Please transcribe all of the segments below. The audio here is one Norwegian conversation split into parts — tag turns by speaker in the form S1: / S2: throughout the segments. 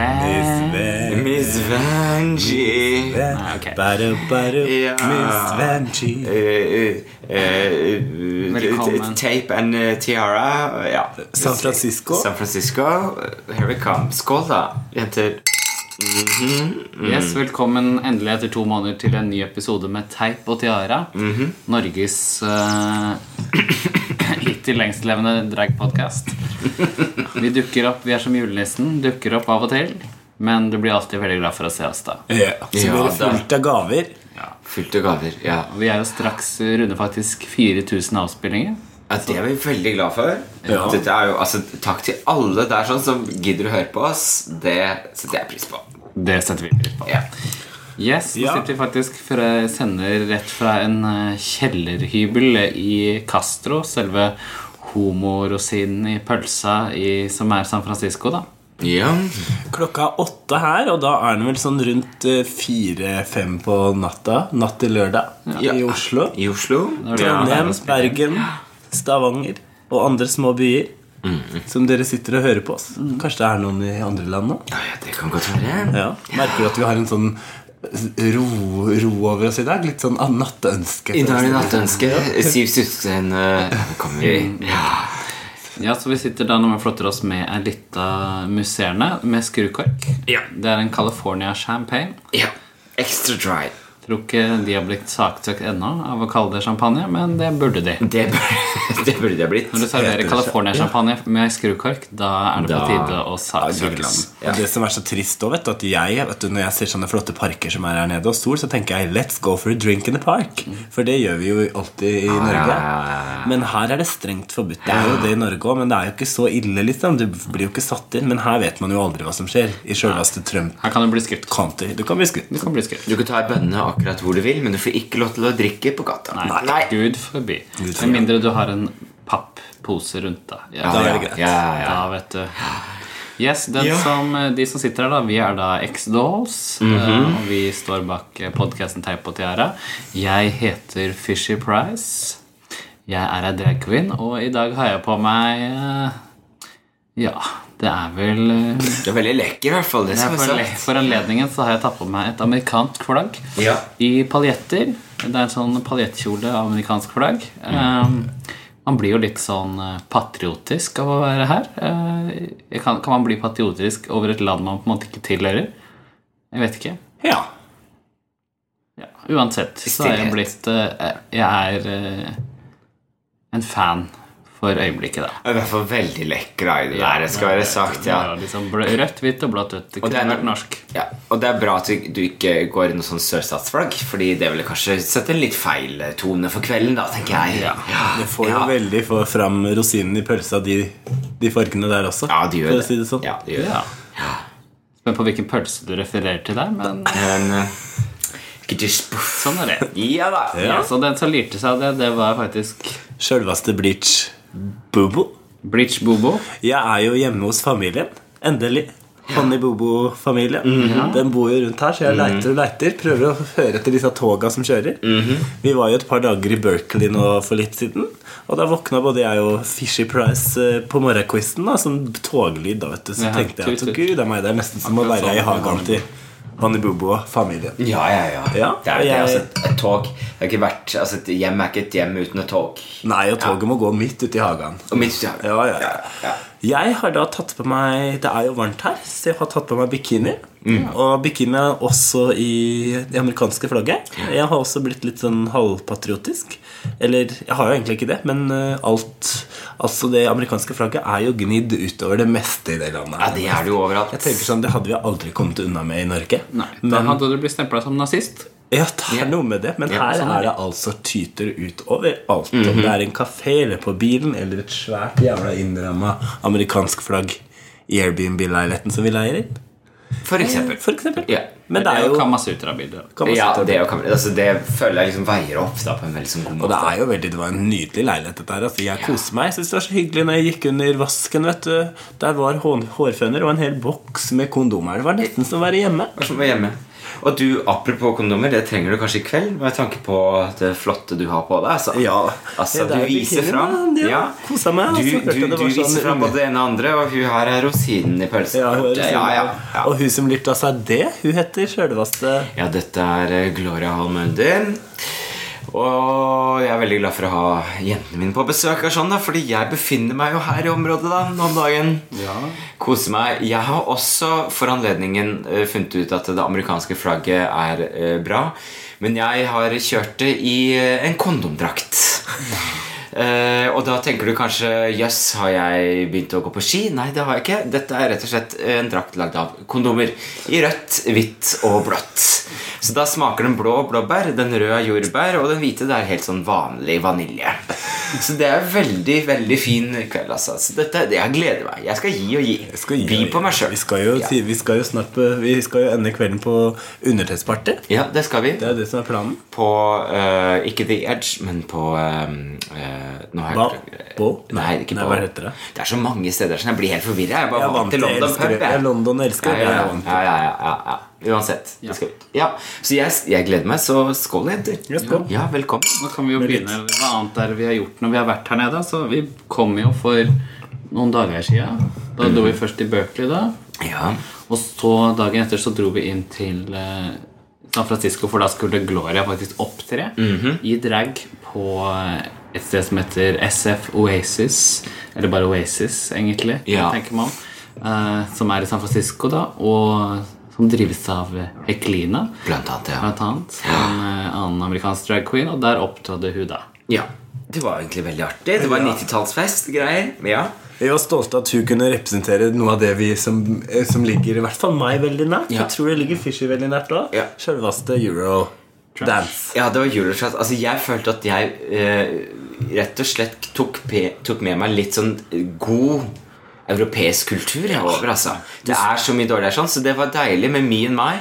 S1: Eh,
S2: Miss Vanji.
S1: Nei, ok.
S3: Bare, bare,
S2: Ja.
S3: Miss Vanjie.
S2: Eh, eh, eh,
S1: Velkommen.
S2: Tape and eh, Tiara. Ja.
S3: San Francisco.
S2: San Francisco. Here we come. Skål, da, jenter.
S1: Yes, Velkommen endelig etter to måneder til en ny episode med Teip og Tiara. Norges eh, hittil lengstlevende dragpodkast. Vi dukker opp, vi er som julenissen. Dukker opp av og til. Men du blir alltid veldig glad for å se oss da.
S3: Ja. Så blir
S2: Ja,
S3: det
S2: det-
S3: fullt av gaver.
S2: Fullt av gaver. Ja.
S1: Vi er jo straks runder faktisk 4000 avspillinger.
S2: Ja, det er vi veldig glad for.
S3: Ja.
S2: Dette er jo, altså, takk til alle der sånn som gidder å høre på oss. Det setter jeg pris på.
S1: Det setter vi pris på.
S2: Ja.
S1: Yes, nå
S3: Ja.
S1: sitter vi faktisk fra, sender rett fra en eh, kjellerhybel i Castro. Selve homorosinen i pølsa i, som er San Francisco, da.
S2: ja.
S3: Klokka er åtte her, og da er den vel sånn rundt eh, fire-fem på natta. Natt til lørdag
S2: Ja.
S3: i Oslo.
S2: I Oslo.
S1: det
S2: Ja.
S1: det.
S3: Trondheim, Bergen, Stavanger og andre små byer.
S2: Mm.
S3: Som dere sitter og hører på oss. Kanskje det er noen i andre land nå?
S2: Ja, ja, det kan godt være.
S3: Ja. Merker du at vi har en sånn ro, ro over oss i dag? Litt sånn ah, natteønske.
S2: I dag er det nattønske. Siv Susken eh, kommer vi. Ja.
S1: Ja, så vi sitter da når vi flotter oss med ei lita musserende med skrukork.
S2: Ja.
S1: Det er en California champagne.
S2: ja. Extra dry.
S1: Tror ikke de har blitt saksøkt ennå av å kalle det champagne, men det burde de.
S2: Det, bur- det burde det ha blitt.
S1: Når du serverer
S3: Heter det
S1: California-champagne med skrukork, da er det
S2: Da-
S1: på tide å saksøke dem.
S2: Ja.
S3: Og Det som er så trist også, vet du, at jeg, vet du, Når jeg ser sånne flotte parker som er her nede og sol, så tenker jeg 'let's go for a drink in the park'. For det gjør vi jo alltid
S2: Ah.
S3: i Norge.
S2: ja, ja,
S3: Men her er det strengt forbudt. Det er jo det i Norge òg, men det er jo ikke så ille, liksom. Du blir jo ikke satt inn. Men her vet man jo aldri hva som skjer. I sjølveste Trump
S1: Her kan du bli skutt.
S3: County. Du kan bli skutt.
S1: Du kan bli skutt.
S2: Du kan ta i bønnene akkurat hvor du vil, men du får ikke lov til å drikke på gata.
S1: Nei, Gud forbi. Med mindre du har en papppose rundt deg. Ja,
S3: Da er det
S2: ja,
S3: greit.
S2: ja, ja.
S1: Da vet du. Yes, den
S2: Ja.
S1: som, eh, De som sitter her, da, vi er da X-Dolls. eh, Og vi står bak podkasten Teip og Tiara. Jeg heter Fishy Price. Jeg er ei drag queen, og i dag har jeg på meg eh, Ja, det er vel eh,
S2: Det er veldig lekker, i hvert fall. Det
S1: Nei,
S2: skal jeg
S1: for,
S2: si.
S1: anle- for anledningen så har jeg tatt på meg et amerikansk flagg
S2: Ja.
S1: i paljetter. Det er en sånn paljettkjole av amerikansk flagg.
S2: Mm.
S1: Ehm, man blir jo litt sånn eh, patriotisk av å være her. Eh, jeg kan, kan man bli patriotisk over et land man på en måte ikke tilhører? Jeg vet ikke.
S3: Ja.
S1: Ja, uansett så er jeg blitt eh, Jeg er eh, en fan for øyeblikket, da.
S2: Det er i hvert fall veldig lekker i det der, det skal være sagt. ja.
S1: Det er Liksom blø- rødt, hvitt og blått. vet du. Det
S2: Og det er
S1: kunne
S2: no-
S1: vært norsk.
S2: Ja, og det er bra at du, du ikke går i noe sånn sørstatsflagg, fordi det ville kanskje sette en litt feil eh, tone for kvelden, da, tenker jeg.
S1: Ja.
S3: Det får jo veldig få fram rosinen i pølsa, de, de fargene der også.
S2: Ja, det gjør
S3: for
S2: det.
S3: å si det sånn.
S2: Ja, det gjør det.
S1: Ja. Spent på hvilken pølse du refererer til der, men
S2: Men eh, ikke just puff.
S1: sånn er det.
S2: Ja da.
S1: Ja, så den som lirte seg av det, det var faktisk
S3: Sjølveste Bleach Bobo.
S1: Bleach Bobo.
S3: Jeg er jo hjemme hos familien. Endelig. Honey Bobo-familien.
S1: Mhm.
S3: Den bor jo rundt her, så jeg leiter og leiter. Prøver å høre etter disse toga som kjører.
S1: Mhm.
S3: Vi var jo et par dager i Berkeley nå for litt siden. Og da våkna både jeg og Fishy Price eh, på morgenquizen da, som toglyd. da, vet du. Så
S1: Ja,
S3: tenkte jeg
S1: tut, tut.
S3: at gud det er meg, det er nesten som å
S1: Akkurat
S3: være i
S1: sånn.
S3: hagen til Honey Bobo og familien.
S2: Ja, ja, ja.
S3: Ja, og
S2: det er, det er
S3: jeg-
S2: altså et, et tog. Det har ikke vært, altså Et hjem er ikke et hjem uten et tog.
S3: Nei, og toget må gå midt ute i hagen.
S2: Og mitt, ja.
S3: Ja, ja, ja.
S2: ja.
S3: Jeg har da tatt på meg Det er jo varmt her, så jeg har tatt på meg bikini.
S2: Mm.
S3: Og bikini er også i det amerikanske flagget. Jeg har også blitt litt sånn halvpatriotisk. Eller jeg har jo egentlig ikke det, men eh, alt Altså, det amerikanske flagget er jo gnidd utover det meste i det landet.
S2: ja, det er det jo overalt.
S3: Jeg tenker sånn, Det hadde vi aldri kommet unna med i Norge.
S1: Nei, Da
S3: men,
S1: hadde du blitt stempla som nazist.
S3: ja, det er noe med det, men
S2: Ja, Mhm.
S3: her
S1: sånn er
S3: er det altså tyter utover alt. Om det er en kafé eller på bilen eller et svært jævla innramma amerikansk flagg i Airbnb-leiligheten som vi leier i.
S2: For eksempel.
S3: For eksempel.
S2: Ja.
S3: Men det er jo
S1: Kamasutra-bildet.
S3: kan man
S2: Ja,
S3: sitte og-
S2: det, er jo kamera. altså, det føler jeg liksom veier opp da på en veldig sånn god
S3: og det
S2: måte.
S3: er jo veldig, det var en nydelig leilighet dette her altså, Jeg koser meg, jeg synes det var så hyggelig når jeg gikk under vasken vet du. Der var hår, hårføner og en hel boks med kondomer Det var nesten som å være hjemme
S2: Det var som å være hjemme. Og du, apropos kondomer, det trenger du kanskje i kveld med tanke på det flotte du har på deg. Altså,
S3: Ja.
S2: altså
S3: Det
S2: du
S3: er
S2: viser
S3: bikini,
S2: fram
S3: men ja, kosa meg,
S2: Du,
S3: altså, hørte
S2: du,
S3: det
S2: du
S3: var
S2: viser
S3: sånn-
S2: fram både det ene og andre, og hun her er rosinen i pølsa.
S3: Ja, hører
S2: ja, ja, ja.
S3: Og hun som lyrte av seg det, hun heter sjølvaste
S2: Ja, dette er eh, Gloria Holmunder. Og jeg er veldig glad for å ha jentene mine på besøk, og sånn da, fordi jeg befinner meg jo her i området da, nå om dagen.
S1: Ja.
S2: Kose meg. Jeg har også for anledningen eh, funnet ut at det amerikanske flagget er eh, bra, men jeg har kjørt det i eh, en kondomdrakt. Eh, og da tenker du kanskje Jøss, har jeg begynt å gå på ski? Nei, det har jeg ikke. Dette er rett og slett en drakt lagd av kondomer. I rødt, hvitt og blått. Så da smaker den blå blåbær, den røde er jordbær, og den hvite det er helt sånn vanlig vanilje. Så det er veldig, veldig fin kveld, altså. Så dette, det jeg gleder meg. Jeg skal gi og gi.
S3: Jeg skal gi-
S2: By på meg sjøl.
S3: Vi skal jo,
S2: ja.
S3: si- vi skal jo snart på, Vi skal jo ende kvelden på undertøysparty.
S2: ja, det skal vi.
S3: Det er det som er planen.
S2: På eh, ikke The Edge, men på eh, eh, nå har jeg
S3: Hva?
S2: ikke-
S3: På?
S2: Nei, det er ikke
S3: Nei,
S2: på.
S3: hva heter det?
S2: Det er så mange steder som jeg blir helt forvirra. Jeg er bare
S3: Jeg er
S2: vant til London
S3: elsker
S2: pub.
S3: det. Jeg er London elsker
S2: Ja,
S3: det. Jeg
S2: ja,
S3: er
S2: ja,
S3: vant til.
S2: ja, ja, ja, ja. Uansett. Det skal ut. Ja. Så jeg, jeg gleder meg, så skål, jenter.
S3: Ja, skål.
S2: Ja, velkommen.
S1: Nå kan vi jo begynne Hva annet er det vi har gjort når vi har vært her nede? Så vi kom jo for noen dager siden. Da dro vi først til Berkeley, da.
S2: Ja.
S1: Og så dagen etter så dro vi inn til eh, San Francisco, for da skulle Gloria faktisk opptre
S2: Mhm.
S1: i drag på eh, et sted som heter SF Oasis. Eller bare Oasis, egentlig,
S2: Ja.
S1: tenker man. Eh, som er i San Francisco, da, og som drives av Heklina,
S2: Blant annet, ja.
S1: blant annet. En eh, annen amerikansk drag queen, og der opptrådte hun, da.
S2: ja. Det var egentlig veldig artig. Det var 90-tallsfest-greier. Ja.
S3: Vi var stolte at hun kunne representere noe av det vi som, eh, som ligger i hvert fall meg veldig nært.
S2: Ja.
S3: Jeg tror det ligger Fisher veldig nært òg.
S2: Ja.
S3: Sjølvaste Euro Dance.
S2: ja, det var juleslett. Altså, jeg følte at jeg eh, rett og slett tok, pe tok med meg litt sånn god europeisk kultur jeg, over, altså. Det er så mye dårligere sånn, så det var deilig med me and my.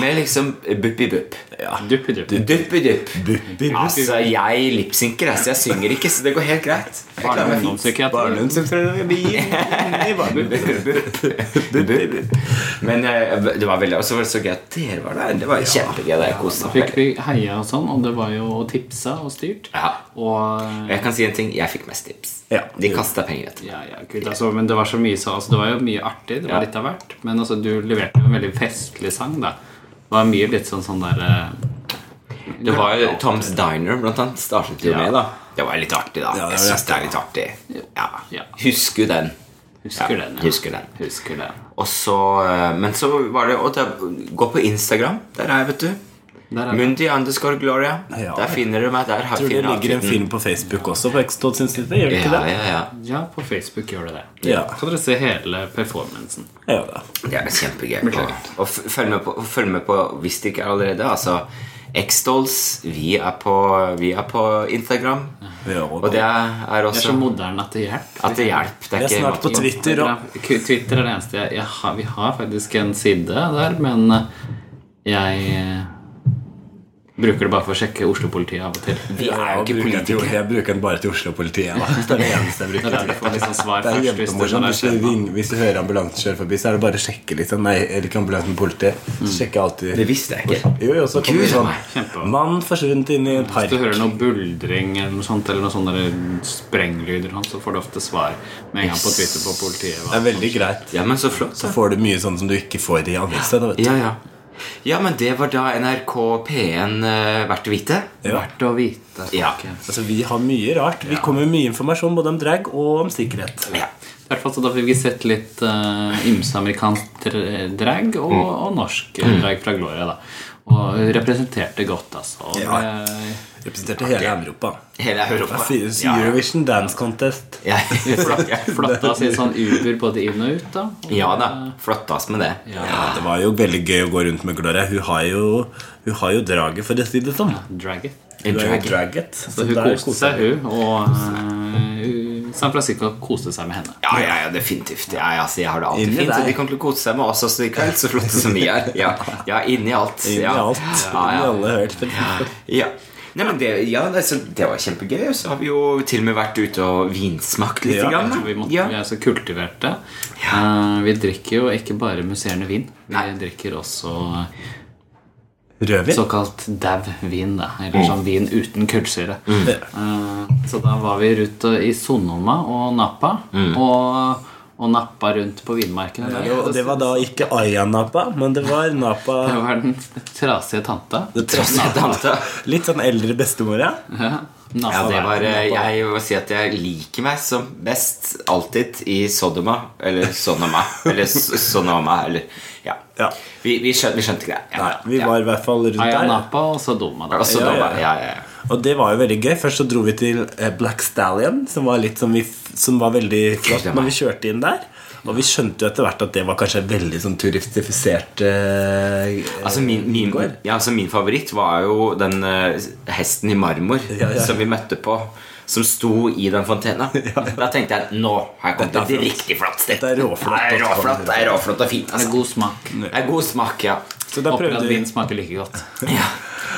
S2: Med liksom buppi-bupp.
S3: Ja.
S1: Duppidupp.
S2: Duppi-dupp.
S3: Buppi.
S2: Altså, jeg lipsynker, altså. Jeg synger ikke, så det går helt greit. Jeg klarer meg fint.
S1: Barnehundpsykiatri.
S2: Men eh, det var veldig Og så var det så gøy at dere var der. Det var kjempegøy. Det er koset meg.
S1: Fikk vi heia og sånn, og det var jo og tipsa og styrt.
S2: Ja.
S1: Og eh,
S2: Jeg kan si en ting. Jeg fikk mest tips.
S3: Ja.
S2: De kasta penger etter meg.
S1: ja, ja, gud, altså, men det var så mye så, altså, Det var jo mye artig, det var
S2: Ja.
S1: litt av hvert. Men altså, du leverte jo en veldig festlig sang, da. Det var mye litt sånn sånn der eh,
S2: Det var jo Toms Diner, blant annet. Startet jo
S1: Ja.
S2: med, da. Det var litt artig, da.
S3: Ja, det var
S2: jeg syns det er litt artig. Ja.
S1: Ja.
S2: Husker jo den.
S1: Husker
S2: Ja,
S1: den.
S2: husker den.
S1: Husker den.
S2: Og så eh, Men så var det, og det Gå på Instagram. Der er jeg, vet du.
S1: Der er
S2: Mundi underscore Gloria.
S3: Ja.
S2: Der finner du meg. Der har-
S3: Jeg tror det
S2: finner
S3: ligger en
S2: outfiten.
S3: film på Facebook også på Extot sin side. Gjør det ikke
S2: Ja,
S3: det?
S2: ja, ja.
S1: Ja, på Facebook gjør det det.
S3: Ja.
S1: Kan dere se hele performancen.
S3: Ja, da.
S2: Det er kjempegøy. Og, og f- følg, med på, og følg med på hvis det ikke er allerede. Altså X-Dolls. Vi, er på- vi er på Instagram.
S3: Vi er over.
S2: Og det er, er
S1: Det er så
S2: også
S1: moderne at det hjelper.
S2: At det hjelper. Det
S3: Vi
S2: er
S3: er
S2: ikke
S3: snart på
S2: måte-
S3: Twitter òg.
S1: Twitter er det eneste jeg, jeg har, Vi har faktisk en side der, men eh, jeg eh, bruker det bare for å sjekke Oslo-politiet av og til.
S2: Vi er jo ikke politikere.
S3: Jeg bruker den bare til Oslo-politiet. da. Det er det eneste jeg
S1: Det er
S3: bruker.
S1: der du får litt sånn svar
S3: Det er
S1: først. Hvis det
S3: kjempemorsomt.
S1: når det
S3: Hvis, du
S1: skjer noe.
S3: ring- hvis du hører ambulansen kjøre forbi, så er det bare å sjekke litt. sånn, Nei, eller ikke ambulansen, politiet. Så
S1: Mm.
S3: sjekker jeg alltid.
S2: Det visste jeg ikke.
S3: Jo, jo, så kommer
S2: Gud,
S3: det
S2: nei,
S1: kjempe.
S3: sånn Mann forsvunnet inn i en
S1: Hvis
S3: park.
S1: du hører noe buldring eller noe sånt, eller noe sånne der sprenglyder, og sånt, så får du ofte svar med en gang på Twitter på politiet.
S3: Det
S1: hva-
S3: er veldig greit.
S2: Ja, men så flott.
S3: Så
S2: da.
S3: får du mye sånn som du ikke får i aviser. Da, vet du.
S2: Ja, ja. Ja, men det var da NRK P1 uh, verdt å vite.
S3: Ja.
S1: Verdt å vite.
S2: Ja.
S1: folkens.
S3: Altså, vi har mye rart. Vi kommer med mye informasjon både om drag og om sikkerhet.
S2: Ja.
S1: I hvert fall så Da fikk vi sett litt eh, ymse amerikansk dr- drag og,
S3: Mm.
S1: og norsk drag fra Gloria. da Og hun representerte godt, altså. Og
S3: Ja.
S1: det-
S3: Representerte hele Europa.
S2: Hele Europa. Ja, ja.
S3: Eurovision Dance Contest.
S2: Ja.
S1: Flatta sin sånn Uber både inn og ut, da. Og,
S2: ja da. Flottas med det.
S3: Ja, det var jo veldig gøy å gå rundt med Gloria. Hun har jo, hun har jo draget, for å si det sånn.
S1: Drag it.
S2: En
S3: Hun er jo
S2: drag.
S3: draget.
S1: Så hun
S3: der
S1: koste
S3: koser
S1: seg,
S3: jeg.
S1: hun. Og eh, San Francisco koste seg med henne.
S2: Ja, ja, ja, definitivt. Ja, ja, altså, jeg har det alltid
S3: Inni
S2: fint. Så
S3: deg.
S2: de kommer til å kose seg med oss også i kveld, så flotte som vi er. Ja, ja inni alt.
S3: Inn i
S2: ja.
S3: alt. Inn
S2: Ja,
S3: i
S2: ja.
S3: alle hørt.
S2: ja. Nei, men det, ja, altså, det var kjempegøy. Og så har vi jo til og med vært ute og vinsmakt litt.
S3: Ja,
S2: grann,
S1: Jeg tror
S2: da.
S1: vi, måtte,
S2: ja.
S1: vi er så kultiverte. Eh, vi drikker jo ikke bare musserende vin. Vi drikker også
S3: Rødvin?
S1: Såkalt dau vin, da. Eller
S3: Mm.
S1: sånn vin uten kullsyre. Eh, så da var vi rundt og- i Sonoma og Napa.
S3: Mm.
S1: Og, og nappa rundt på vinmarkene. der.
S3: Og det var da ikke Aya Napa, men det var Napa
S1: Det var den trasige tanta.
S3: det
S2: Tross alt tante.
S3: Litt sånn eldre bestemor, ja.
S1: Ja,
S2: Ja,
S3: Altså,
S1: Napa.
S2: det var, eh, jeg må si at jeg liker meg som best alltid i Sodoma. Eller Sonoma. Eller S- Sonoma. Eller, ja.
S3: Ja.
S2: Vi, vi, skjønte, vi skjønte greia. Ja,
S3: Nei, vi
S2: ja.
S3: var Altså- i hvert fall rundt
S1: Aya
S3: der.
S1: Napa og Sodoma. Da.
S2: Og Sodoma,
S3: Ja,
S2: ja, ja, ja.
S3: Og det var jo veldig gøy. Først så dro vi til eh, Black Stallion, som var, litt som vi, f- som var veldig flott
S2: Gud, det
S3: når
S2: var-
S3: vi kjørte inn der. Og vi skjønte jo etter hvert at det var kanskje veldig sånn turistifisert eh,
S2: Altså min, min,
S3: Går.
S2: ja, altså min favoritt var jo den eh, hesten i marmor
S3: Ja, ja.
S2: som vi møtte på. Som sto i den fontena. Da tenkte jeg nå har jeg kommet
S3: Dette er
S2: til
S3: flott.
S2: et riktig flott sted.
S3: Dette er råflott.
S2: Det er råflott, det er råflott og fint.
S1: Det er
S2: Altså.
S1: god smak.
S2: Det er god smak, ja.
S3: Så da
S1: Håper
S3: prøvde
S1: at
S3: vi
S1: vin smaker like godt.
S2: ja.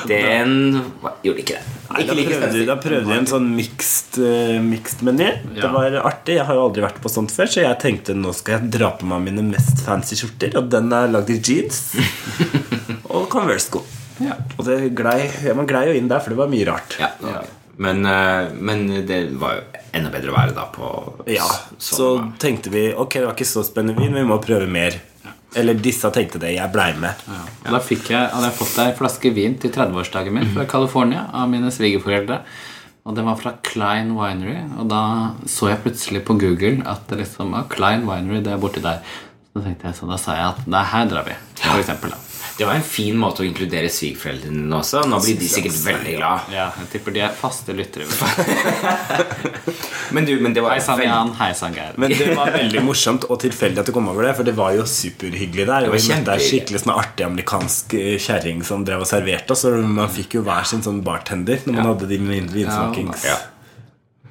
S2: Den var- gjorde ikke det.
S3: Nei, da
S2: Ikke like
S3: prøvde,
S2: spenstig.
S3: da prøvde jeg en sånn mixed, eh, mixed meny. Det
S1: Ja.
S3: var artig. Jeg har jo aldri vært på sånt før, så jeg tenkte nå skal jeg dra på meg mine mest fancy skjorter. Og den er lagd i jeans og Converse-sko.
S1: Ja.
S3: Og det glei, ja, man glei jo inn der, for det var mye rart.
S2: Ja, det var det. Men, eh, men det var jo enda bedre å være da på
S3: Ja,
S2: s-
S3: Så
S2: sånn.
S3: tenkte vi ok, det var ikke så spennende vin, vi må prøve mer. Eller disse tenkte det. Jeg blei med.
S1: Og Da fikk jeg, hadde jeg fått ei flaske vin til 30-årsdagen min fra California av mine svigerforeldre. Og den var fra Klein Winery. Og da så jeg plutselig på Google at det liksom var Klein Winery, det er borti der. Så tenkte jeg, så da sa jeg at nei, her drar vi, for eksempel. Da.
S2: Det var en fin måte å inkludere svigerforeldrene dine også. Nå blir de sikkert veldig glad.
S1: Ja, jeg tipper de er faste lyttere.
S2: Men, du, men det var
S1: Hei sann,
S2: veldig-
S1: Jan. Hei sann, Geir.
S3: Men det var veldig morsomt og tilfeldig at du kom over det, for det var jo superhyggelig der. Og vi
S2: var
S3: møtte ei
S2: kjempehyggelig.
S3: skikkelig sånn artig amerikansk eh, kjerring som drev og serverte oss. Og man fikk jo hver sin sånn bartender når man hadde de vin- vinsmakings.
S2: Ja.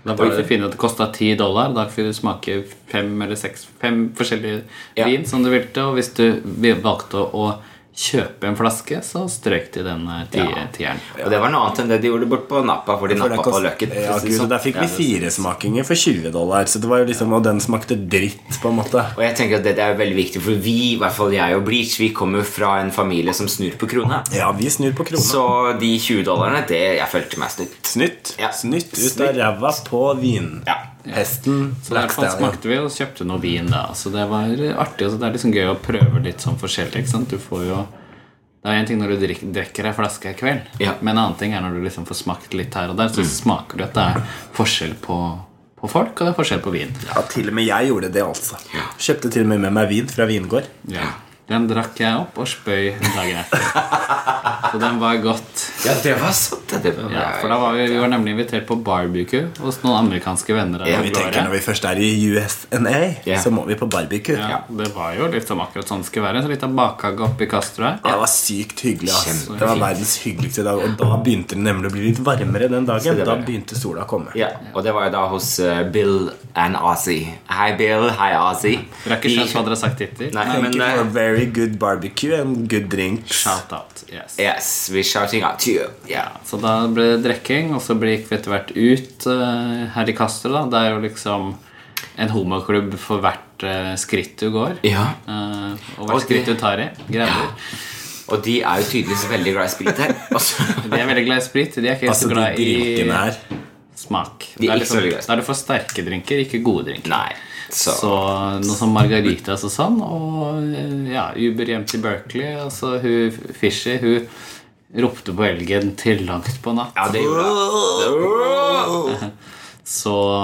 S1: Da var det fint at det kosta ti dollar. Da fikk du smake fem eller seks Fem forskjellige
S2: Ja.
S1: vin som du ville. Og hvis du valgte å kjøpe en flaske, så strøk de den eh, ti, tieren.
S2: Og det var noe annet enn det de gjorde bort på Napa, hvor de
S3: For det
S2: nappa på
S3: kost-
S2: løken.
S3: Ja, gud,
S2: sånn.
S3: og der fikk vi fire smakinger for 20 dollar. Så det var jo liksom, Og den smakte dritt, på en måte.
S2: Og jeg tenker at dette er veldig viktig, for vi, i hvert fall jeg og Bleach, vi kommer jo fra en familie som snur på krona.
S3: Ja, vi snur på krona.
S2: Så de 20 dollarene, det jeg følte meg snytt.
S3: Snytt.
S2: Ja.
S3: Snytt ut
S2: Snytt.
S3: av ræva på vinhesten.
S2: Ja.
S1: Så i hvert fall smakte vi og kjøpte noe vin da. Så det var artig. Og det er liksom gøy å prøve litt sånn forskjellig. Ikke sant? Du får jo det er en ting når du drik- drikker ei flaske i kveld,
S2: Ja. Mm.
S1: men en annen ting er når du liksom får smakt litt her og der, så smaker du at det er forskjell på, på folk, og det er forskjell på vin.
S3: Ja, til og med jeg gjorde det, altså. Kjøpte til og med med meg vin fra vingård.
S1: Ja. Den drakk jeg opp og spøy dagen etter. Så den var godt.
S2: ja, det var sant. det. Det var,
S1: Ja, for da var vi, vi var nemlig invitert på barbecue hos noen amerikanske venner. av
S2: Ja,
S3: Vi
S1: Gloria.
S3: tenker Når vi først er i USNA,
S2: Ja.
S3: så må vi på barbecue.
S1: ja, Det var jo liksom akkurat sånn det skulle være. En sånn liten bakhage oppe i Castro her.
S3: Det var sykt hyggelig. ass.
S2: Kjempefint.
S3: Det var verdens hyggeligste dag. Og da begynte det nemlig å bli litt varmere den dagen.
S2: det
S3: Da
S2: var det.
S3: begynte sola å komme.
S2: Ja, og det var jo da hos eh, Bill and Ozzy. Hei, Bill. Hei, Ozzy.
S1: Dere har ikke skjønt hva dere har sagt hittil?
S2: Nei,
S3: Thank
S2: men
S3: you for a
S2: eh,
S3: very good barbecue and good drinks.
S1: Shout out, yes
S2: Yes, we're shouting out to you. Yeah.
S1: Så da ble det drekking, og så ble- gikk vi etter hvert ut eh, her i Castro. da Det er jo liksom en homoklubb for hvert eh, skritt du går.
S2: Ja.
S1: Eh, og
S2: Og
S1: hvert skritt du tar i. Greier.
S2: Og de er jo tydeligvis veldig glad i sprit her. Og så-
S1: De er veldig glad i sprit. De er ikke
S3: Altså,
S1: så
S3: de
S1: glad i
S3: drinkene her
S1: smak.
S2: De
S1: Det
S2: er
S1: er,
S2: ikke så
S1: liksom,
S2: veldig glad i
S1: da er det for sterke drinker, ikke gode drinker.
S2: Nei.
S1: Så,
S2: Så
S1: noe som margaritas og sånn, og eh, ja, Uber hjem til Berkeley. Altså, hun Fishy, hun ropte på elgen til langt på natt.
S2: Ja, det gjorde det.
S1: Så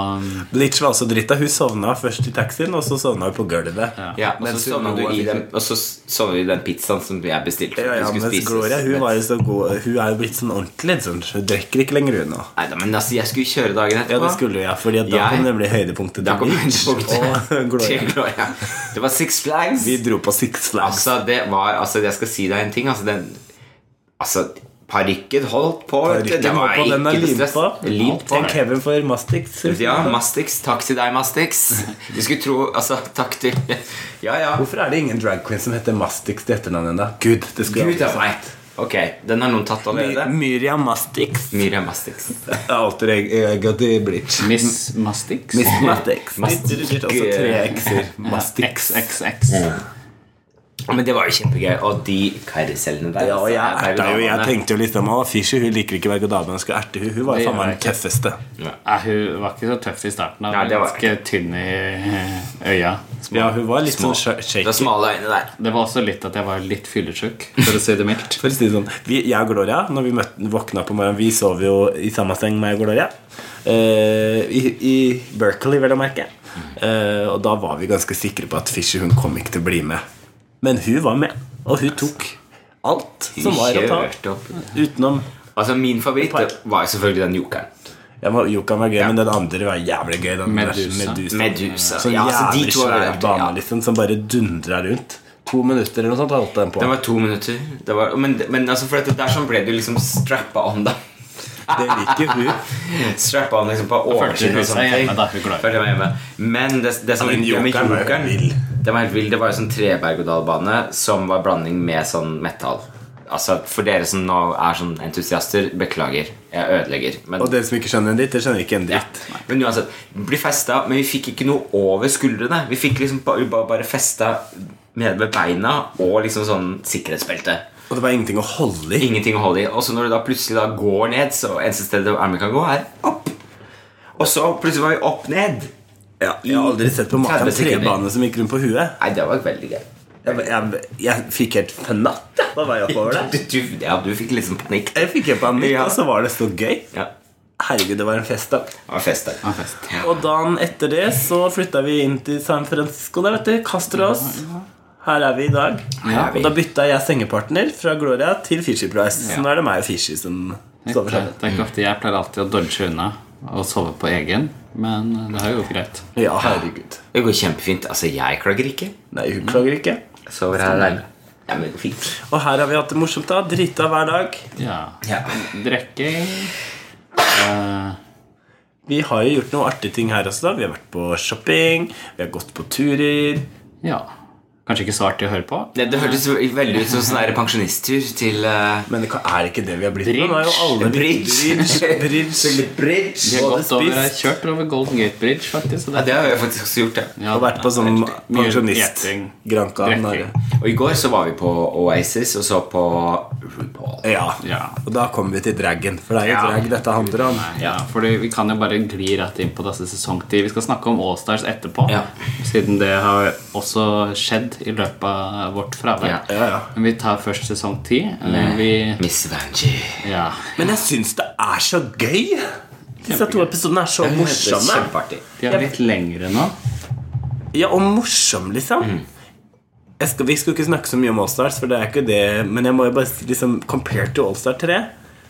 S3: Blitz var også drita. Hun sovna først i taxien, og så sovna hun på gulvet.
S2: Ja, og så
S3: Mens hun
S2: sovna du
S3: lå,
S2: i
S3: jeg
S2: den, og så sovna du i den pizzaen som jeg bestilte.
S3: Ja,
S2: Du
S3: ja,
S2: skulle
S3: mens
S2: spise.
S3: Gloria hun, var jo så god, hun er jo blitt sånn ordentlig. Sånn. Hun drikker ikke lenger unna.
S2: Nei da, men altså, jeg skulle kjøre dagen
S3: Ja,
S2: etterpå.
S3: det skulle jeg, fordi at da
S2: Jeg-
S3: kom nemlig høydepunktet
S2: Da
S3: til
S2: kom
S3: Blitz og
S2: høydepunktet til
S3: Gloria.
S2: Gloria. Det var Six Flags.
S3: Vi dro på Six Flags.
S2: Altså, det var Altså, jeg skal si deg en ting. Altså, den Altså, parykken holdt på. vet du.
S3: Rykken
S2: Det var
S3: holdt på, den er
S2: ikke noe
S3: limt
S2: stress.
S3: på.
S2: Limt på.
S3: Takk Kevin for Mastix.
S2: Ja, Mastix. Takk til deg, Mastix. Du skulle tro Altså, takk til Ja, ja.
S3: Hvorfor er det ingen drag queen som heter Mastix til etternavn ennå? Gud, det skulle
S2: Gud
S3: jeg
S2: av meg. Ok, den har noen tatt allerede.
S3: Myriam Mastix.
S2: Miriam Mastix.
S3: Alter ego til Blitz.
S1: Miss Mastix.
S3: Miss Mastix.
S2: Mastix.
S3: Altså tre x-er. Mastix.
S1: XXX.
S2: Og Men det var jo kjempegøy. Og de karusellene der
S3: Ja, og jeg
S2: altså, er
S3: erta jo. Jeg
S1: berg-og-dal-bane.
S3: tenkte jo liksom Å, Fischer, hun liker ikke berg-og-dal-banen. Skal erte hun. Hun var
S1: Det
S3: jo faen meg
S1: gjør
S3: den tøffeste.
S1: Nei, hun var ikke så tøff i starten. Hun
S2: Nei,
S1: var
S2: det var
S1: ganske tynn i eh, øya. Små.
S3: Ja, hun var litt
S2: Små.
S3: sånn sh- shaky.
S2: Det er smale øyne der.
S1: Det var også litt at jeg var litt fyllesyk, for å si det mildt.
S3: For å si det sånn, vi, jeg og Gloria, når vi møtte, våkna på morgenen Vi sov jo i samme seng med Gloria. Eh, i, I Berkeley, vel å merke. Eh, og da var vi ganske sikre på at Fisher hun kom ikke til å bli med. Men hun var med, og hun tok alt som var å ta.
S2: Kjørte opp.
S3: Utenom
S2: Altså, min favoritt det var jo selvfølgelig den jokeren.
S3: ja, men Jokan var gøy, men den andre var jævlig gøy. Den
S1: Medusa.
S3: Medusa.
S2: Medusa.
S3: Sånn
S2: Ja, altså, de
S3: jævlig
S2: to
S3: svær
S2: er
S3: bane
S2: ja.
S3: liksom, som bare dundra rundt. To minutter eller noe sånt holdt den på.
S2: Det var to minutter. Det var, men men altså, for at det der sånn ble du liksom strappa om, da.
S3: Det liker hun.
S2: Strappa om liksom på oversiden
S1: hun
S2: og
S1: seg
S2: sånne ting.
S1: hjemme, da. Hun klarer.
S2: Følte meg hjemme. Men det, det
S3: Ja,
S2: som
S3: men
S2: det med
S3: jokeren var jo
S2: jokeren,
S3: vill.
S2: Den var helt vill. Det var jo sånn tre-berg-og-dal-bane som var blanding med sånn metall. Altså, for dere som nå er sånn entusiaster, beklager. Jeg ødelegger. Men,
S3: Og dere som ikke skjønner en dritt, dere skjønner ikke en dritt.
S2: men uansett, bli festa, men vi fikk ikke noe over skuldrene. Vi fikk liksom bare, bare festa nede ved beina og liksom sånn sikkerhetsbelte.
S3: Og det var ingenting å holde i.
S2: Ingenting å holde i. Og så når du da plutselig da går ned, så eneste stedet Ermin kan gå, er opp. Og så plutselig var vi opp ned.
S3: Ja, jeg har aldri sett på maken
S2: 30 sekunder.
S3: trebane som gikk rundt på huet.
S2: Nei, det var veldig gøy.
S3: Jeg, jeg, jeg fikk helt fnatt på vei oppover
S2: Du,
S3: der.
S2: du, ja, du fikk liksom panikk.
S3: Jeg fikk helt panikk, altså.
S2: Ja.
S3: og så var det så gøy.
S2: Ja,
S3: Herregud, det var en fest, da.
S2: det var fest der.
S1: Ja, fest.
S2: Ja.
S3: Og dagen etter det så flytta vi inn til San Francisco. Der, vet du. Castros. Her er vi i dag.
S2: Her er vi.
S3: Og da bytta jeg sengepartner fra Gloria til Fisher Price. Så nå er det meg og Fisher som sover sammen.
S1: Det er ikke ofte jeg pleier alltid å dodge unna og sove på egen, men det har jo gått greit.
S3: Ja, herregud.
S2: Det går kjempefint. Altså, jeg klager ikke.
S3: Nei, hun klager ikke.
S2: Sover her alene. Ja, men det går fint.
S3: Og her har vi hatt det morsomt, da. Drita hver dag.
S1: Ja.
S2: Ja.
S1: Drikking eh,
S3: Vi har jo gjort noen artige ting her også. da Vi har vært på shopping, vi har gått på turer.
S1: Ja. Kanskje ikke så artig å høre på.
S2: Det, det hørtes ve- veldig ut som sånn der pensjonisttur til eh,
S3: Men det kan- er det ikke det vi har blitt nå?
S1: Bridge.
S3: Nå er jo alle
S2: Bridge.
S3: bridge, bridge.
S1: Vi har
S3: Både
S1: gått over,
S3: spist-
S1: kjørt over Golden Gate Bridge, faktisk. Så
S2: Ja, det har jeg faktisk også gjort, ja.
S1: ja,
S3: Og vært på
S1: det er
S3: sånn
S1: riktig. Mye
S3: pensjonist
S1: gjeting.
S3: Gran Canaria.
S1: Drikking.
S2: Og i går så var vi på Oasis og så på RuPaul.
S3: Ja.
S1: Ja.
S3: Og da kommer vi til dragen, for det er jo drag dette handler om.
S1: Ja, for vi kan jo bare gli rett inn på disse sesongtid. Vi skal snakke om Allstars etterpå,
S2: Ja.
S1: siden det har også skjedd i løpet av vårt fravær.
S2: Ja.
S3: Ja, ja.
S1: Men vi tar først sesong ti. eller Vi,
S2: Miss Vanjie.
S1: ja.
S3: Men jeg syns det er så gøy! Disse to episodene er så morsomme.
S2: Kjempeartig.
S1: De er blitt lengre nå.
S3: Ja, og morsom, liksom. Jeg skal, vi skulle ikke snakke så mye om Allstars, for det er ikke det Men jeg må jo bare si, liksom Compared to Allstar 3,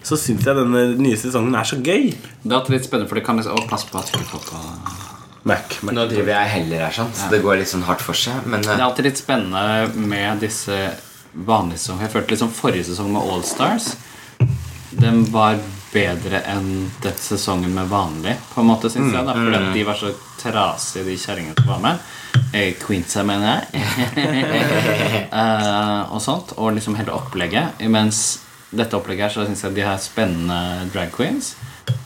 S3: så syns jeg denne nye sesongen er så gøy.
S1: Det er litt spennende, for det kan liksom, å, pass på at du får på
S3: Mac, Mac.
S2: Nå driver jeg heller her, sant? så det går litt sånn hardt for seg. Men
S1: Det
S2: eh,
S1: er alltid litt spennende med disse vanlige sesongene. Jeg følte liksom forrige sesong med All Stars Den var bedre enn den sesongen med vanlig, på en måte, syns jeg.
S3: Mm,
S1: Da, fordi at de var så trasige, de kjerringene som var med. Eh, Queensa, mener jeg. eh, og sånt. Og liksom hele opplegget. Mens dette opplegget her, så syns jeg de har spennende drag queens.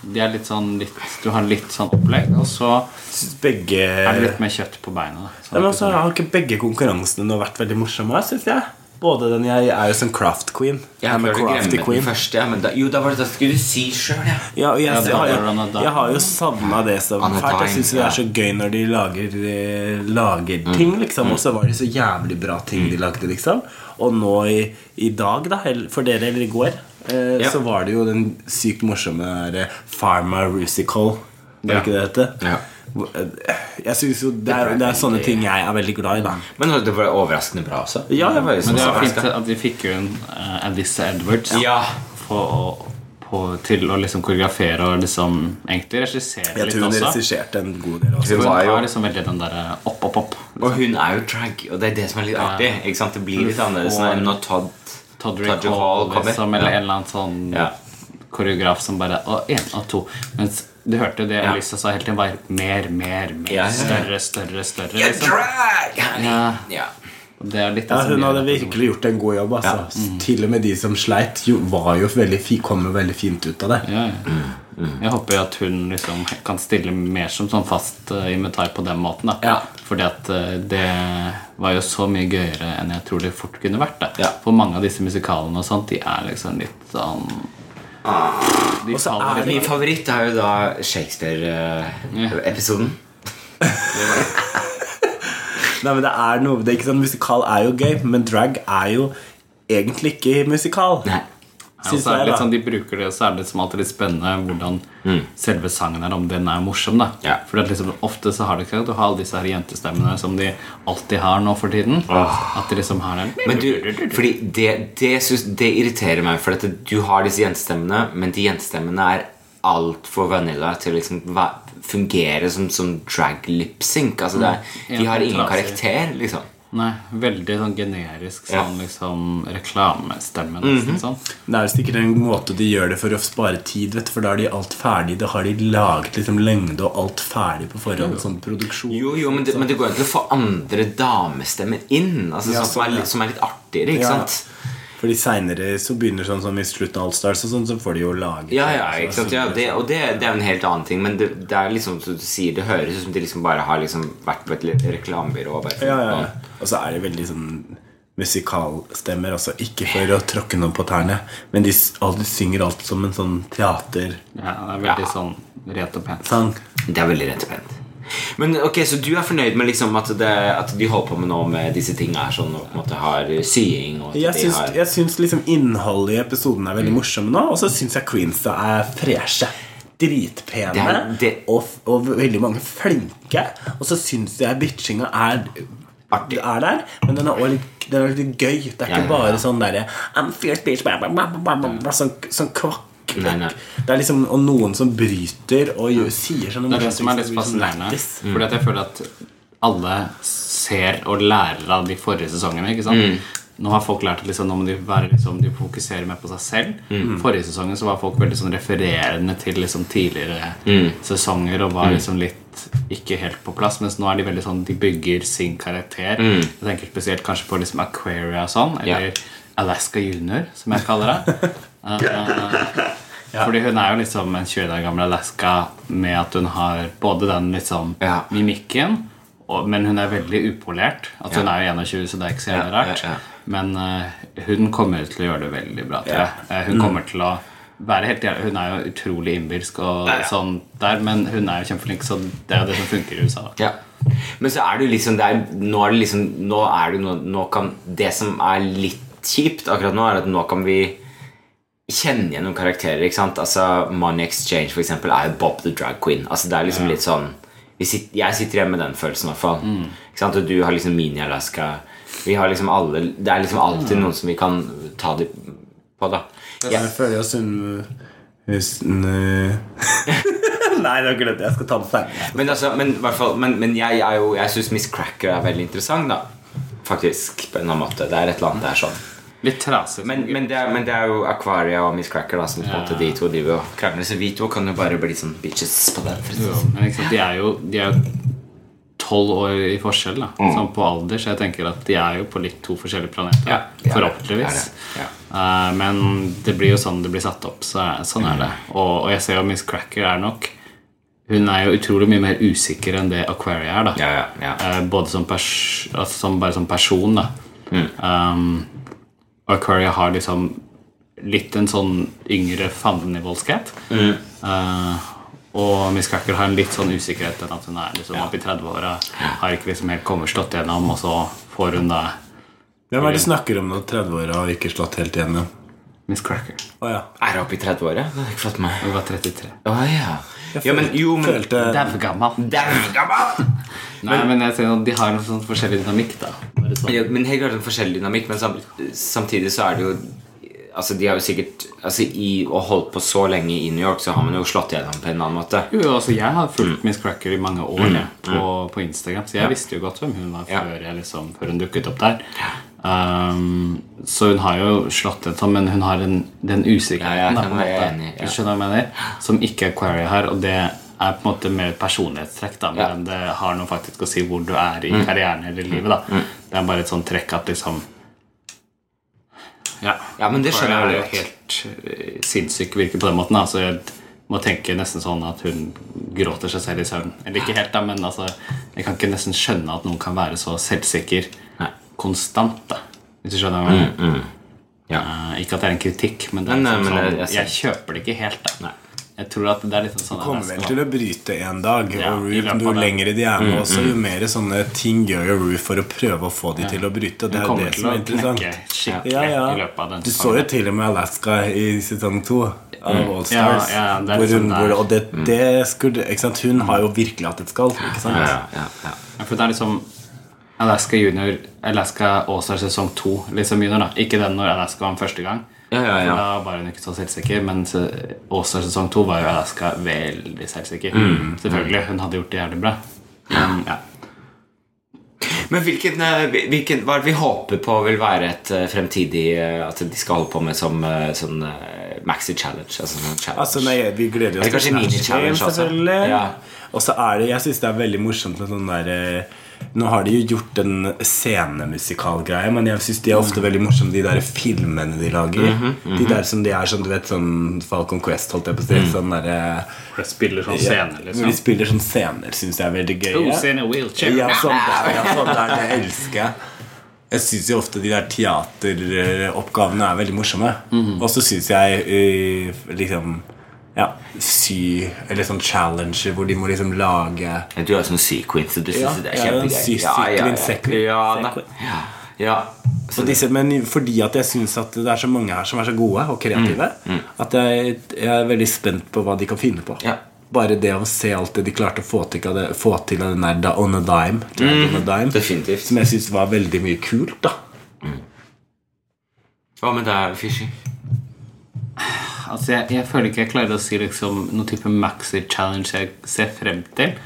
S1: De er litt sånn litt, Du har litt sånn opplegg, og så
S3: Syns begge
S1: er det
S3: ja,
S1: litt mer kjøtt på beina. Da. Sånn Så
S3: men altså, også har ikke begge konkurransene nå vært veldig morsomme, syns jeg. Både den jeg er jo som craft queen.
S2: jeg har
S3: I'm a crafty
S2: glemt den første. Ja, men da, jo, da var det da skulle du si sjøl, ja.
S3: Ja, og jeg,
S1: Ja, det var
S3: jeg,
S1: Anna
S3: jeg,
S1: Dine.
S3: har jo savna det som
S2: Anna
S3: fælt. Jeg
S2: Dine,
S3: syns det
S2: ja.
S3: er så gøy når de lager, eh, lager ting, liksom. Og så var det så jævlig bra ting de lagde, liksom. Og nå i, i dag, da, eller for dere, eller i går, eh,
S2: Ja.
S3: så var det jo den sykt morsomme derre Pharma Rusical. Var
S1: Ja.
S3: det ikke det det het?
S2: Ja.
S3: Hvor- eh, Jeg synes jo det er, det er sånne ting jeg er veldig glad i, da.
S2: Men det var overraskende bra også.
S3: Ja, det var jo
S2: Men
S1: Men det var fint
S2: overrasket.
S1: at de fikk jo en eh, Alyssa Edwards
S2: Ja.
S1: på, å- på, til å liksom koreografere og liksom egentlig regissere
S3: Jeg
S1: litt
S3: tror hun
S1: også.
S3: regisserte en god del også.
S2: Hun
S1: Hun liksom-
S2: var
S1: tar
S2: jo-
S1: liksom veldig den derre opp, opp, opp.
S2: Og hun er jo drag, og det er det som er litt artig. Ikke sant? Det blir litt annerledes enn når Todd
S1: Todrick
S2: Todrick Hall
S1: Hall,
S2: kommer.
S1: liksom, eller en eller annen sånn
S2: Ja.
S1: koreograf som bare Å, én og to. Mens du hørte jo det
S2: Ja.
S1: Alyssa sa hele tiden var mer, mer, mer.
S2: Ja, ja, ja.
S1: Større, større, større.
S2: You're
S1: Liksom.
S2: drag!
S1: Ja.
S2: Ja.
S1: Det er litt det
S3: Ja,
S1: som
S3: hun
S1: gjør
S3: hadde
S1: at-
S3: virkelig gjort en god jobb. Altså. Til og med de som sleit, jo, var jo veldig, fi- kom jo veldig fint ut av det.
S1: ja, ja. Jeg håper jo at hun liksom kan stille mer som sånn fast eh, inventar på den måten. da
S3: Ja.
S1: Fordi at eh, det var jo så mye gøyere enn jeg tror det fort kunne vært. da
S2: Ja.
S1: For mange av disse musikalene og sånt, de er liksom litt sånn De
S3: Og så
S1: faller
S3: er
S1: litt
S2: Min favoritt er jo da eh, Shakespeare-episoden.
S3: Nei, men det er noe, det er ikke sånn, Musikal er jo gøy, men drag er jo egentlig ikke musikal.
S2: Nei. altså,
S1: Ja, og
S3: Synes
S1: så er det
S3: jeg,
S1: litt
S3: da. Mm.
S1: sånn de bruker det, så er det liksom alltid litt spennende hvordan selve sangen er, om den er morsom. da
S2: Ja.
S1: For det er liksom, ofte så har det ikke at du har alle disse her jentestemmene som de alltid har nå for tiden. At de liksom har den
S2: Men du, fordi det, det, syns- det irriterer meg, for at du har disse jentestemmene, men de jentestemmene er altfor vanilla til å liksom væ- fungere som, som drag lip-sync. Altså det er, de har ingen karakter, liksom.
S1: Nei, veldig sånn generisk
S2: Ja. Mhm.
S1: sånn liksom reklamestemme, nesten sånn.
S3: Det er jo sikkert en måte de gjør det for å spare tid, vet du, for da er de alt ferdig. Da har de laget liksom lengde og alt ferdig på forhånd. Sånn produksjon. Sånn.
S2: Jo, jo, men det, men det går ikke å få andre damestemmer inn, altså,
S3: Ja,
S2: sånn, som,
S3: sånn,
S2: er,
S3: ja.
S2: litt- som er litt artigere, ikke
S3: Ja.
S2: sant?
S3: Fordi seinere så begynner sånn som i slutten av All Stars og sånn, så får de jo lage
S2: Ja, ja, ikke sant? ja det, og det, det er jo en helt annen ting, men det, det er liksom som du sier, det høres ut som de liksom bare har liksom vært på et lite reklamebyrå og bare
S3: Ja, ja, ja. Og så er det veldig sånn musikalstemmer, altså ikke for å tråkke noen på tærne, men de, s- alle synger alt som en sånn teatersang.
S1: Ja, det er veldig
S2: Ja.
S1: sånn rett og pent.
S2: Det er veldig rett og pent. Men ok, Så du er fornøyd med liksom at, det, at de holder på med nå med disse tinga her, sånn og på en måte har sying og at
S3: Jeg
S2: de
S3: syns,
S2: har Mm.
S3: jeg syns liksom innholdet i episoden er veldig morsomme nå, og så syns jeg Queensa er freshe. Dritpene
S2: Det er- det-
S3: Og, f- og veldig mange flinke. Og så syns jeg bitchinga er
S2: Artig.
S3: Er der, men den er også litt, den er litt gøy. Det er ikke
S2: Ja, ja, ja.
S3: bare sånn derre I'm fierce bitch blah, blah, blah, blah, blah, blah, Sånn, sånn kvakk.
S2: Nei, nei.
S3: Det er liksom og noen som bryter og gjør, sier sånne
S1: Det er det som er litt
S3: blir sånn
S1: fascinerende. Mm.
S3: lættis.
S1: Fordi at jeg føler at alle ser og lærer av de forrige sesongene. ikke sant? Nå har folk lært at liksom, nå må de, være, liksom, de fokusere mer på seg selv. Forrige sesongen så var folk veldig sånn refererende til liksom, tidligere sesonger og var liksom litt ikke helt på plass. Mens nå er de veldig sånn De bygger sin karakter. Jeg tenker spesielt kanskje på liksom Aquaria og sånn. Eller
S2: Ja.
S1: Alaska Junior, som jeg kaller det. Eh, eh, Fordi hun er jo liksom en 20 år gammel Alaska med at hun har både den liksom
S2: Ja.
S1: mimikken, og, men hun er veldig upolert. Altså Hun er jo 21, så det er ikke så jævlig
S2: Ja, ja,
S1: rart.
S2: ja.
S1: Men eh, hun kommer til å gjøre det veldig bra, tror jeg. Eh, hun kommer
S2: Mm.
S1: til å være helt jævlig. Hun er jo utrolig innbilsk og
S2: Ja, ja.
S1: sånn der, men hun er jo kjempeflink, så det er jo det som funker i USA. da.
S2: Ja. Men så er det jo liksom det er, Nå er det liksom Nå er det jo noe nå kan, Det som er litt kjipt akkurat nå, er at nå kan vi kjenne igjen noen karakterer. ikke sant? Altså Money Exchange for eksempel, er jo Bob the Drag Queen. Altså Det er liksom litt sånn vi sit, Jeg sitter igjen med den følelsen, i hvert fall. Ikke sant? Og du har liksom Mini-Alaska. Vi har liksom alle Det er liksom alltid noen som vi kan ta de på, da. Ja.
S3: Jeg føler jo Sunn... Husten Nei, nå glemte jeg. Jeg skal ta den ferdig.
S2: Men, altså, men, i hvert fall, men, men jeg, er jo- jeg syns Miss Cracker er veldig interessant, da. Faktisk. På en eller annen måte. Det er et eller annet der sånn.
S1: Litt trasig.
S2: Men, men, det, er, men det er jo Aquaria og Miss Cracker da som på en måte de to driver og krangler. Så vi to kan jo bare bli sånn bitches på den. For å si det
S1: Jo,
S2: sånn.
S1: men ikke sant, de er jo De er jo tolv år i forskjell da
S2: Mm.
S1: Sånn på alder, så jeg tenker at de er jo på litt to forskjellige planeter
S2: Ja, de er det.
S1: Forhåpentligvis
S2: Det er det,
S1: Eh, Men det blir jo sånn det blir satt opp Så sånn er det
S2: Mm.
S1: Og, og jeg ser jo Miss Cracker er nok Hun er jo utrolig mye mer usikker enn det Aquaria er da
S2: Ja, ja, ja.
S1: Eh, Både som, pers altså, som, bare som person da um, Og Aquaria har liksom litt en sånn yngre fandenivoldskhet. Eh, og Miss Cracker har en litt sånn usikkerhet enn at hun er liksom oppe i 30-åra. Har ikke liksom helt kommet slått gjennom, og så får hun da
S3: Hvem er det du snakker om nå? 30-åra og ikke slått helt igjennom?
S1: Miss Cracker.
S3: Å ja.
S2: Er hun oppe i 30-året? Det har jeg ikke fått med meg.
S1: Hun var 33.
S2: Å ja. ja men, jo, men
S3: Følte
S1: Daugammal.
S2: Dæven, gammal!
S1: Nei, men jeg ser at de har en sånn forskjellig dynamikk, da. Bare sånn.
S2: Ja, Men helt klart en forskjellig dynamikk, men sam, samtidig så er det jo Altså, de har jo sikkert Altså, i å holde på så lenge i New York, så har man jo slått igjennom på en annen måte.
S1: Jo, jo, altså Jeg har
S2: Mm.
S1: fulgt Miss Cracker i mange år jeg, på, på Instagram, så jeg visste jo godt hvem hun var
S2: Ja.
S1: før, jeg liksom, før hun dukket opp der. Um, så hun har jo slått et sånn, men hun har en, den
S2: Ja, jeg
S1: usikkerheten da,
S2: kan
S1: på en
S2: være
S1: måte.
S2: enig, ja.
S1: Du skjønner hva jeg mener, som ikke er Quarry her. Og det er på en måte mer et personlighetstrekk, da, men
S2: Ja. Mm.
S1: det har noe faktisk å si hvor du er i karrieren eller livet. da Det er bare et sånt trekk at liksom Ja.
S2: Ja, men det
S1: For
S2: skjønner
S1: er
S2: jeg
S1: jo
S2: veldig godt.
S1: helt eh, sinnssyk virker på den måten. da. Så jeg må tenke nesten sånn at hun gråter seg selv i søvn. Eller ikke helt, da, men altså Jeg kan ikke nesten skjønne at noen kan være så selvsikker
S2: Nei.
S1: konstant, da. Hvis du skjønner hva jeg mener.
S2: Ja.
S1: Eh, Ikke at det er en kritikk, mm. men, det er
S2: Men,
S1: liksom
S2: eh, men
S1: sånn,
S2: det-
S1: jeg,
S2: jeg
S1: kjøper det ikke helt. Da. Jeg tror at det er litt sånn
S3: Kommer vel til å bryte en dag.
S1: Ja,
S3: og
S1: i
S3: Roof,
S1: løpet
S3: Jo
S1: av Mm, den.
S3: lengre de er med, også, jo mer sånne ting gjør jo Roof for å prøve å få de til å bryte. Og det er jo
S1: kommer
S3: det
S1: til
S3: som
S1: å
S3: er
S1: knekke
S3: interessant.
S1: skikkelig
S3: Ja, ja.
S1: i løpet av den
S3: Du så jo til og med Alaska i sesong to av All Stars.
S1: Mm. ja, det er
S3: hvor hun,
S1: liksom
S3: hvor,
S1: der.
S3: og det, det skulle, ikke sant? Hun har jo virkelig hatt et skall. Ikke sant?
S2: Ja, ja, ja.
S1: Ja, For det er liksom Alaska Junior Alaska Åsar sesong to, liksom junior. da Ikke den når Alaska var den første gang.
S2: Ja, ja, ja.
S1: For Da var hun ikke så selvsikker, men se- Åsar sesong to var jo Alaska veldig selvsikker. Selvfølgelig. Hun hadde gjort det jævlig bra. Men, ja.
S2: Men hvilken, eh, hvilken, hva er det vi håper på vil være et eh, fremtidig eh, At de skal holde på med som eh, sånn eh, maxi challenge? Altså sånn challenge.
S3: Altså, nei, vi gleder oss
S2: Eller kanskje
S3: Snatch Game,
S2: mini-challenge også.
S3: selvfølgelig.
S2: Ja.
S3: Og så er det, jeg synes det er veldig morsomt med sånn der eh, Nå har de jo gjort en scenemusikalgreie, men jeg synes de er ofte veldig morsomme, de der filmene de lager.
S2: Mhm,
S3: De der som de er sånn, du vet, sånn Falcon Quest, holdt jeg på å si.
S2: Mm.
S3: Sånn derre
S1: Jeg spiller sånn scene,
S3: Hvor de
S1: liksom.
S3: spiller sånn scener, synes jeg er veldig gøy.
S1: Who's in a wheelchair?
S3: Ja, sånn der, ja, sånn der det elsker jeg. Jeg syns jo ofte de der teateroppgavene er veldig morsomme. Og så syns jeg eh, liksom ja, sy Eller sånn challenger hvor de må liksom lage
S2: Du er sånn sequence, så du syns
S3: Ja,
S2: det er
S3: jeg er en
S2: kjempegøy.
S3: sy- sequence-
S2: ja, da.
S3: sequence.
S2: ja, ja. Så,
S3: og disse, Men fordi at jeg syns at det er så mange her som er så gode og kreative, at jeg, jeg er veldig spent på hva de kan finne på.
S2: Ja.
S3: Bare det å se alt det de klarte å få til av, det, få til av den der da- On a Dime, Dragon on a dime
S2: definitivt.
S3: som jeg syns var veldig mye kult. da
S2: Hva med deg, Fishy?
S1: Altså, jeg, jeg føler ikke jeg klarer å si liksom, noen type maxi-challenge jeg ser frem til.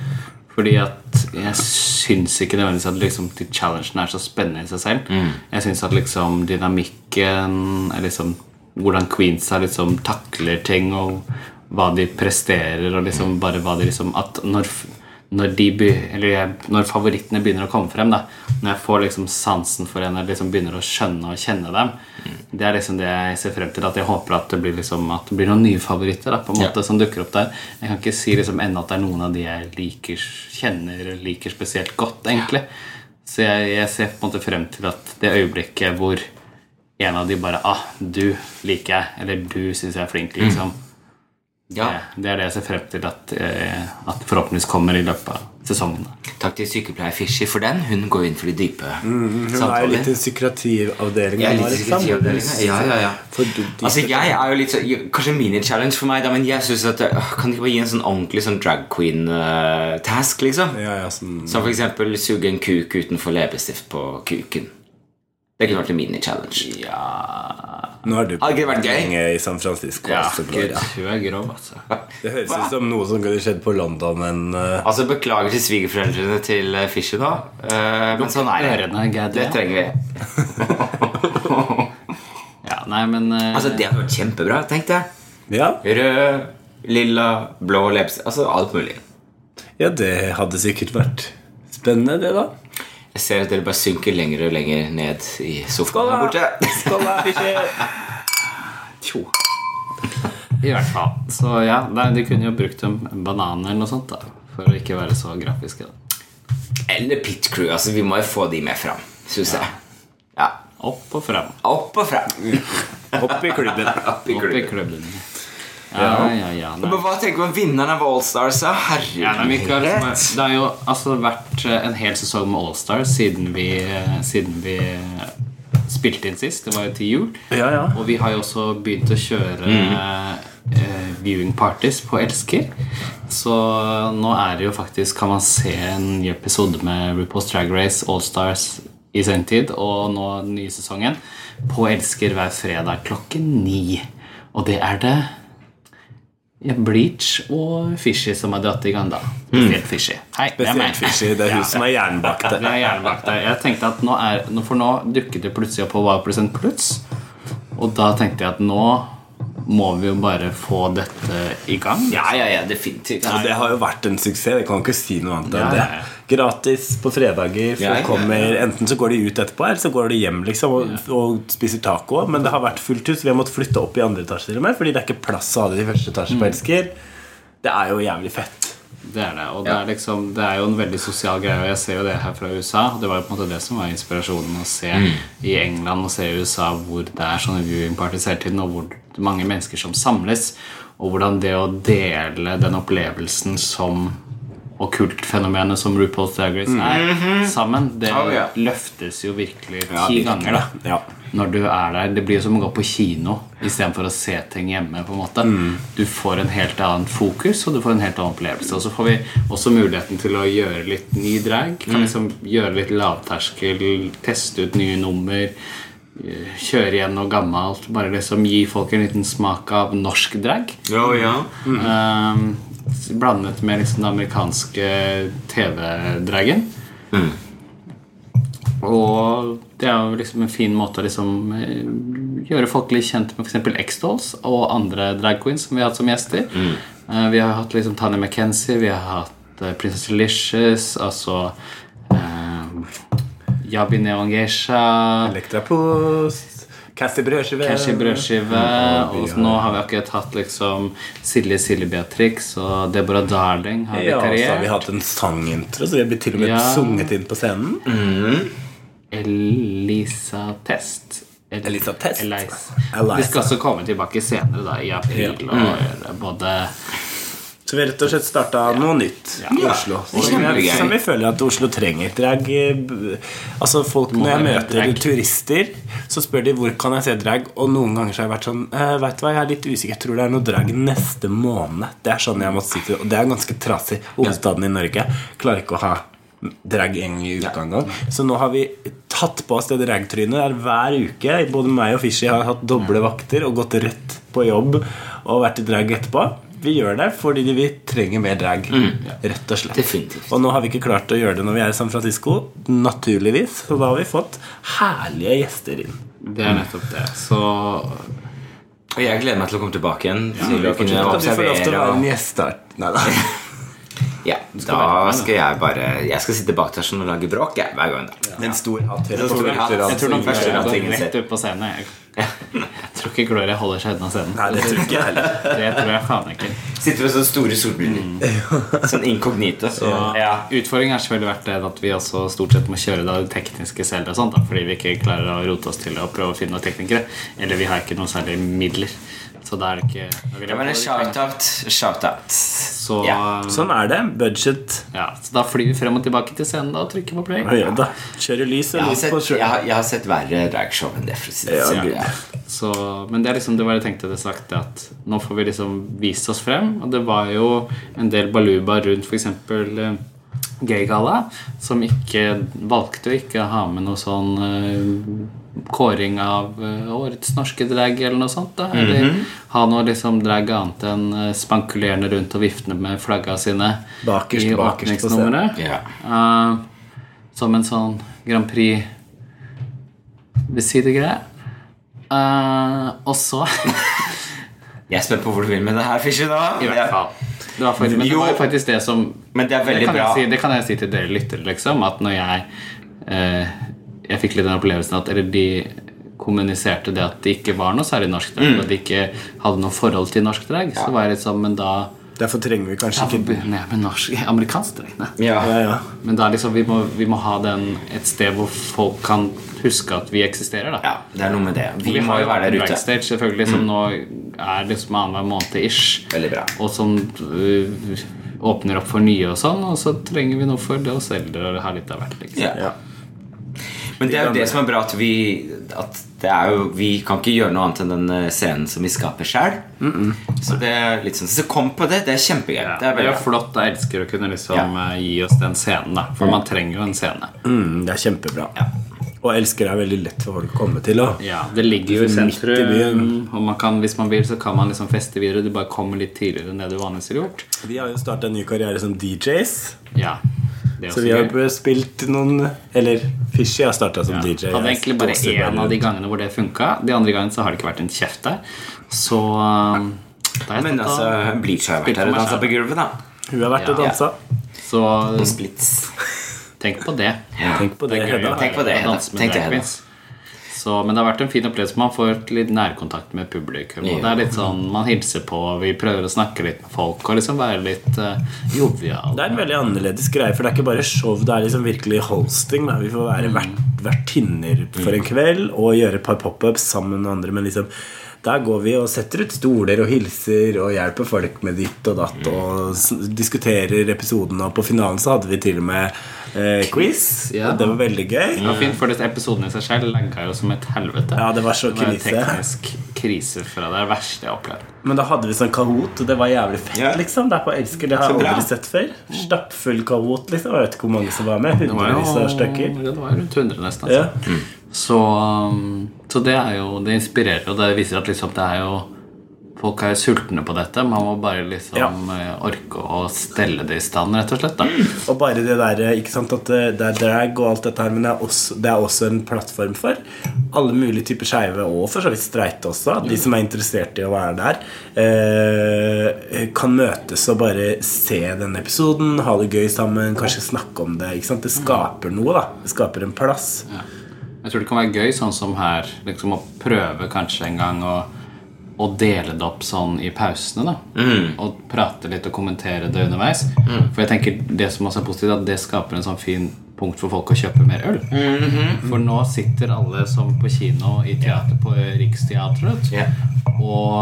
S1: Fordi at jeg syns ikke nødvendigvis at liksom, de challengene er så spennende i seg selv. Jeg syns at liksom dynamikken er liksom Hvordan queensa liksom takler ting, og hva de presterer, og liksom bare hva de liksom At når, f- når de be, Eller jeg, når favorittene begynner å komme frem, da når jeg får liksom sansen for en, jeg liksom begynner å skjønne og kjenne dem. Det er liksom det jeg ser frem til. At jeg håper at det blir, liksom, at det blir noen nye favoritter da, på en måte, som dukker opp der. Jeg kan ikke si liksom ennå at det er noen av de jeg liker, kjenner eller liker spesielt godt. egentlig. Så jeg, jeg ser på en måte frem til at det øyeblikket hvor en av de bare Ah, du liker jeg. Eller du syns jeg er flink, liksom.
S2: Ja.
S1: Eh, Det, det er det jeg ser frem til at, eh, at forhåpentligvis kommer i løpet av sesongen. da.
S2: Takk til sykepleier Fishy for den. Hun går inn for de dype
S3: Mm, Hun er jo
S2: samtaler.
S3: litt i psykiatriavdelingen.
S2: Jeg er
S3: nå,
S2: litt
S3: liksom.
S2: psykiatriavdelingen. Ja, ja, ja.
S3: For du- de-
S2: Altså, jeg er jo litt så, Kanskje mini-challenge for meg, da, men jeg synes at øh, Kan de ikke bare gi en sånn ordentlig sånn drag queen-task, liksom?
S3: ja, ja, sånn.
S2: Som for eksempel suge en kuk utenfor leppestift på kuken. Det kunne vært en mini-challenge.
S3: Nå har du
S2: Hadde ikke det vært gøy?
S3: lenge i San Francisco. altså, Gloria.
S1: hun er grov, altså.
S3: Det høres ut som noe som kunne skjedd på London, men eh,
S2: Altså, beklager til svigerforeldrene til eh, Fisher, da. eh, men sånn er det.
S1: Ørene, Gad, ja.
S2: Det trenger vi.
S1: Ja, nei, men eh,
S2: Altså, Det hadde vært kjempebra. Tenk det.
S3: ja,
S2: Rød, lilla, blå leppestift. Altså alt mulig.
S3: ja, det hadde sikkert vært spennende, det, da.
S2: Jeg ser at dere bare synker lenger og lenger ned i sofaen her
S3: Skål, da.
S2: borte.
S3: Skål, da, Fischer.
S1: Tjo. I hvert fall. Så ja, nei, de kunne jo brukt en banan eller noe sånt, da. For å ikke være så grafiske. da.
S2: Eller pit crew. Altså, vi må jo få de med fram, syns jeg. Ja.
S1: Opp og frem.
S2: Opp og fram.
S3: Hopp i klubben.
S2: Opp
S1: Opp
S2: i
S1: i
S2: klubben.
S1: klubben. Ja, ja, ja. Nei.
S2: Men hva tenker du om vinneren av Allstars? da? Herregud.
S1: Ja, nei, Mikael, som er- det har jo altså vært eh, en hel sesong med Allstar siden vi, eh, siden vi eh, spilte inn sist. Det var jo til jul.
S3: Ja, ja.
S1: Og vi har jo også begynt å kjøre eh, viewing parties på Elsker. Så nå er det jo faktisk Kan man se en ny episode med RuPaul's Drag Race Allstars i sen tid, og nå den nye sesongen, på Elsker hver fredag klokken ni. Og det er det ja, Bleach og Fishy som har dratt i gang, da. Spesielt Fishy. Hei, det er meg.
S3: Spesielt Fischer. Det er hun som er
S1: Det
S3: jernbakte.
S1: er gjerne bak deg. Jeg tenkte at nå er nå- For nå dukket det plutselig opp på Wow Pluss Pluss. Og da tenkte jeg at nå må vi jo bare få dette i gang.
S2: Ja, ja, ja, definitivt.
S3: Og det har jo vært en suksess. Jeg kan ikke si noe annet enn
S1: Ja,
S3: det.
S1: ja, ja.
S3: Gratis på fredager. Folk
S2: Ja, ja, ja.
S3: kommer, enten så går de ut etterpå, eller så går de hjem liksom og, og spiser taco. Men det har vært fullt hus. Vi har måttet flytte opp i andre etasje til og med, fordi det er ikke plass å ha det i første etasje på Elsker. Det er jo jævlig fett.
S1: Det er det. Og det
S2: Ja.
S1: er, liksom, det er jo en veldig sosial greie, og jeg ser jo det her fra USA. og Det var jo på en måte det som var inspirasjonen å se
S2: Mm.
S1: i England og se i USA hvor det er sånne viewing parties hele tiden, og hvor mange mennesker som samles, og hvordan det å dele den opplevelsen som og kultfenomenet som RuPaul's Drag Race er, sammen, det
S2: Oh, ja.
S1: løftes jo virkelig ti ganger, da
S3: Ja.
S1: når du er der. Det blir jo som å gå på kino istedenfor å se ting hjemme. på en måte Du får en helt annen fokus og du får en helt annen opplevelse. Og så får vi også muligheten til å gjøre litt ny drag. Kan liksom Gjøre litt lavterskel, teste ut nye nummer. eh, Kjøre igjen noe gammelt. Bare liksom gi folk en liten smak av norsk drag.
S2: Jo, ja.
S1: Ehm, blandet med liksom den amerikanske TV-dragen. Og det er jo liksom en fin måte å liksom eh, gjøre folk litt kjent med f.eks. X-Dolls og andre drag queens som vi har hatt som gjester. Eh, Vi har hatt liksom Tanya McKenzie, vi har hatt eh, Princess Delicious, altså eh, Yabi Neon Geisha
S3: Elektrapost, Cassie Brødskive
S1: Cash i brødskive.
S3: vi
S1: Og nå har vi akkurat hatt liksom Silje Silje Beatrix og Deborah Darling har
S3: Ja, og så har vi
S1: vikariert.
S3: hatt en sangintro, så vi har blitt til og med
S1: Ja.
S3: sunget inn på scenen.
S1: Elisa Test. El-
S3: Elisa Test.
S1: Elis.
S3: Elisa.
S1: Vi skal også komme tilbake senere, da, i april.
S3: Ja.
S1: Og gjøre både
S3: Så vi har rett og slett starta noe nytt i
S2: Ja.
S3: Oslo.
S2: Det er
S3: Som jeg,
S2: kjempegøy.
S3: som jeg føler at Oslo trenger. Drag eh, b- Altså folk Når jeg
S1: Må være
S3: møter
S1: drag.
S3: turister, så spør de hvor kan jeg se drag. Og noen ganger så har jeg vært sånn eh, Vet du hva, jeg er litt usikker. Jeg tror det er noe drag neste måned. Det er sånn jeg måtte si til Og det er ganske trasig. Hovedstaden i Norge klarer ikke å ha drag en gang i uka engang. Så nå har vi tatt på oss det dragtrynet. Det er hver uke. Både meg og Fishy har hatt doble vakter og gått rett på jobb og vært i drag etterpå. Vi gjør det fordi vi trenger mer drag. Rett og slett.
S2: Definitivt.
S3: Og nå har vi ikke klart å gjøre det når vi er i San Francisco, naturligvis. Så da har vi fått herlige gjester inn.
S1: Det er nettopp det. Så
S2: Og jeg gleder meg til å komme tilbake igjen. til å kunne
S3: At du får lov til å
S2: observere
S3: være en
S2: og
S3: gjest der. Nei, nei.
S2: ja, Da skal jeg bare Jeg skal sitte bak der sånn og lage bråk jeg, hver gang. da.
S3: Med en stor hatt.
S2: En stor hatt.
S3: Nei,
S1: Jeg tror nok
S2: Første
S1: jeg
S2: gang
S1: går
S2: tingen
S1: rett
S2: ser.
S1: ut på scenen. Jeg, jeg tror ikke Gloria holder seg unna scenen.
S3: det tror ikke jeg heller.
S1: Det tror jeg faen ikke.
S2: Sitter med sånne store solbriller. Sånn inkognito. Så. Ja.
S1: Utfordringen har selvfølgelig vært det at vi også stort sett må kjøre da det tekniske selv. Og sånt, da, fordi vi ikke klarer å rote oss til å prøve å finne noen teknikere. Eller vi har ikke noen særlig midler. Så da er det ikke da vil jeg
S2: Ja, men en
S1: prøve-
S2: shout-out. Shout-out.
S1: så,
S2: Ja.
S3: Sånn er det. Budget.
S1: ja, så da flyr vi frem og tilbake til scenen da, og trykker på play.
S3: Å, Ja, da. Kjører lys
S2: Jeg
S3: og
S2: har
S3: lys
S2: sett,
S3: på
S2: jeg
S3: kjøret.
S2: har, jeg har sett verre dragshow enn det. For å si det.
S3: Ja,
S2: sånn.
S3: gud.
S2: Ja.
S1: Så, men det er liksom det var jeg tenkte det sagt at nå får vi liksom vist oss frem. Og det var jo en del baluba rundt f.eks. Gaygalla, som ikke valgte å ikke ha med noe sånn eh, kåring av eh, årets norske drag eller noe sånt. da Eller
S3: Mhm.
S1: ha noe liksom drag annet enn eh, spankulerende rundt og viftende med flagga sine
S3: Bakerst,
S1: i
S3: bakerst på
S1: åpningsnummeret.
S2: Ja.
S1: Eh, som en sånn Grand Prix ved sidegreie. Eh, og så
S2: Jeg er spent på hvor du vil med det her, Fishy. da
S1: I hvert fall. Det var faktisk, men det
S2: Jo.
S1: var faktisk det som
S2: Men det er veldig
S1: det kan,
S2: bra.
S1: Jeg si, det kan jeg si til dere lyttere, liksom, at når jeg eh, Jeg fikk litt den opplevelsen at Eller de kommuniserte det at det ikke var noe særlig norsk drag,
S2: Mm.
S1: og at de ikke hadde noe forhold til norsk drag, så var jeg litt sånn Men da
S3: Derfor trenger vi kanskje
S1: Hvorfor
S3: ikke
S1: begynner jeg med norsk amerikansk drag? Nei.
S2: Ja.
S3: ja, ja.
S1: Men da er liksom, vi, må, vi må ha den et sted hvor folk kan huske at vi eksisterer. da
S2: ja, det er noe med det. Vi,
S1: har
S2: må jo være der ute. Mm.
S1: Backstage selvfølgelig som nå er liksom annenhver måned ish.
S2: Veldig bra.
S1: Og som øh, åpner opp for nye og sånn. Og så trenger vi noe for det oss eldre å ha litt av hvert. liksom
S2: Ja.
S3: Ja.
S2: Men det er jo det som er bra, at vi At det er jo, vi kan ikke gjøre noe annet enn den eh, scenen som vi skaper sjøl. Så det er litt sånn Så kom på det. Det er kjempegøy.
S1: Ja,
S2: Det er veldig bra.
S1: flott. Jeg elsker å kunne liksom
S2: Ja.
S1: eh, gi oss den scenen, da. For man trenger jo en scene.
S3: Mm, det er kjempebra. Og elsker er veldig lett for folk å komme til. Og.
S1: Ja, Det ligger jo i
S3: Midt i
S1: sentrum.
S3: byen.
S1: Og man kan, hvis man vil, så kan man liksom feste videre. Du bare kommer litt tidligere enn det du vanligvis har gjort.
S3: Vi har jo starta en ny karriere som DJs.
S1: Ja er
S3: Så
S1: også
S3: vi har
S1: gøy.
S3: spilt noen Eller Fishy har starta som DJ.
S1: Hadde egentlig bare
S3: Ståsted
S1: én av de
S3: rundt.
S1: gangene hvor det funka. De andre gangene så har det ikke vært en kjeft der. Så um, da har jeg
S2: Men
S1: tatt av.
S2: altså, Bleach har jo
S1: Spilt for
S2: vært her og
S1: meg
S2: dansa
S1: selv.
S2: på gulvet, da.
S3: Hun har vært og
S1: Ja.
S3: dansa.
S1: Så
S2: På splits.
S1: tenk på det.
S2: Mm. Ja.
S3: Tenk på det,
S1: Det er gøy
S3: Hedda.
S1: å
S2: Tenk på det,
S1: være- å
S2: Hedda.
S1: danse med
S2: Tenk det,
S1: drag queens. Så, men det har vært en fin opplevelse. Man får litt nærkontakt med publikum. Og det
S2: Ja.
S1: er litt sånn, Man hilser på, vi prøver å snakke litt med folk og liksom være litt uh, jovial.
S3: Det er en veldig annerledes greie, for det er ikke bare show. Det er liksom virkelig hosting. Da. Vi får være
S2: Mm.
S3: vert, vertinner for en kveld og gjøre et par pop-ups sammen med andre. Men liksom, der går vi og setter ut stoler og hilser og hjelper folk med ditt og datt.
S2: Mm.
S3: Og s- diskuterer episoden. Og på finalen så hadde vi til og med eh, quiz.
S1: ja.
S3: Det var veldig gøy.
S2: Mm.
S1: Det var fint, for det- episoden i seg selv lenka jo som et helvete.
S3: Ja, det var så
S1: en
S3: krise.
S1: teknisk krise fra det verste jeg har opplevd.
S3: Men da hadde vi sånn kahoot, og det var jævlig fett.
S2: Ja.
S3: liksom Derfor jeg elsker det. har jeg
S2: bra.
S3: aldri sett før. Stappfull kahoot. liksom Jeg vet ikke hvor mange som var med. Hundrevis av stykker.
S1: Ja, det var rundt 100 nesten. Altså.
S3: Ja.
S1: Så, um, så det er jo Det inspirerer, og det viser at liksom det er jo Folk er sultne på dette. Man må bare liksom
S3: Ja.
S1: eh, orke å stelle det i stand, rett og slett. da
S3: Og bare det der, ikke sant, at det det er drag og alt dette her, men det er også, det er også en plattform for alle mulige typer skeive, og for så vidt streite også, at de som er interessert i å være der, eh, kan møtes og bare se denne episoden, ha det gøy sammen, kanskje snakke om det. ikke sant, Det skaper noe, da. Det skaper en plass.
S1: Jeg tror det kan være gøy sånn som her, liksom å prøve kanskje en gang å, å dele det opp sånn i pausene. da
S3: Mm.
S1: Og prate litt og kommentere det underveis. For jeg tenker det som også er positivt, at det skaper en sånn fin punkt for folk å kjøpe mer øl.
S3: Mm-hmm.
S1: For nå sitter alle som på kino i teater på Riksteatret
S2: Ja.
S1: og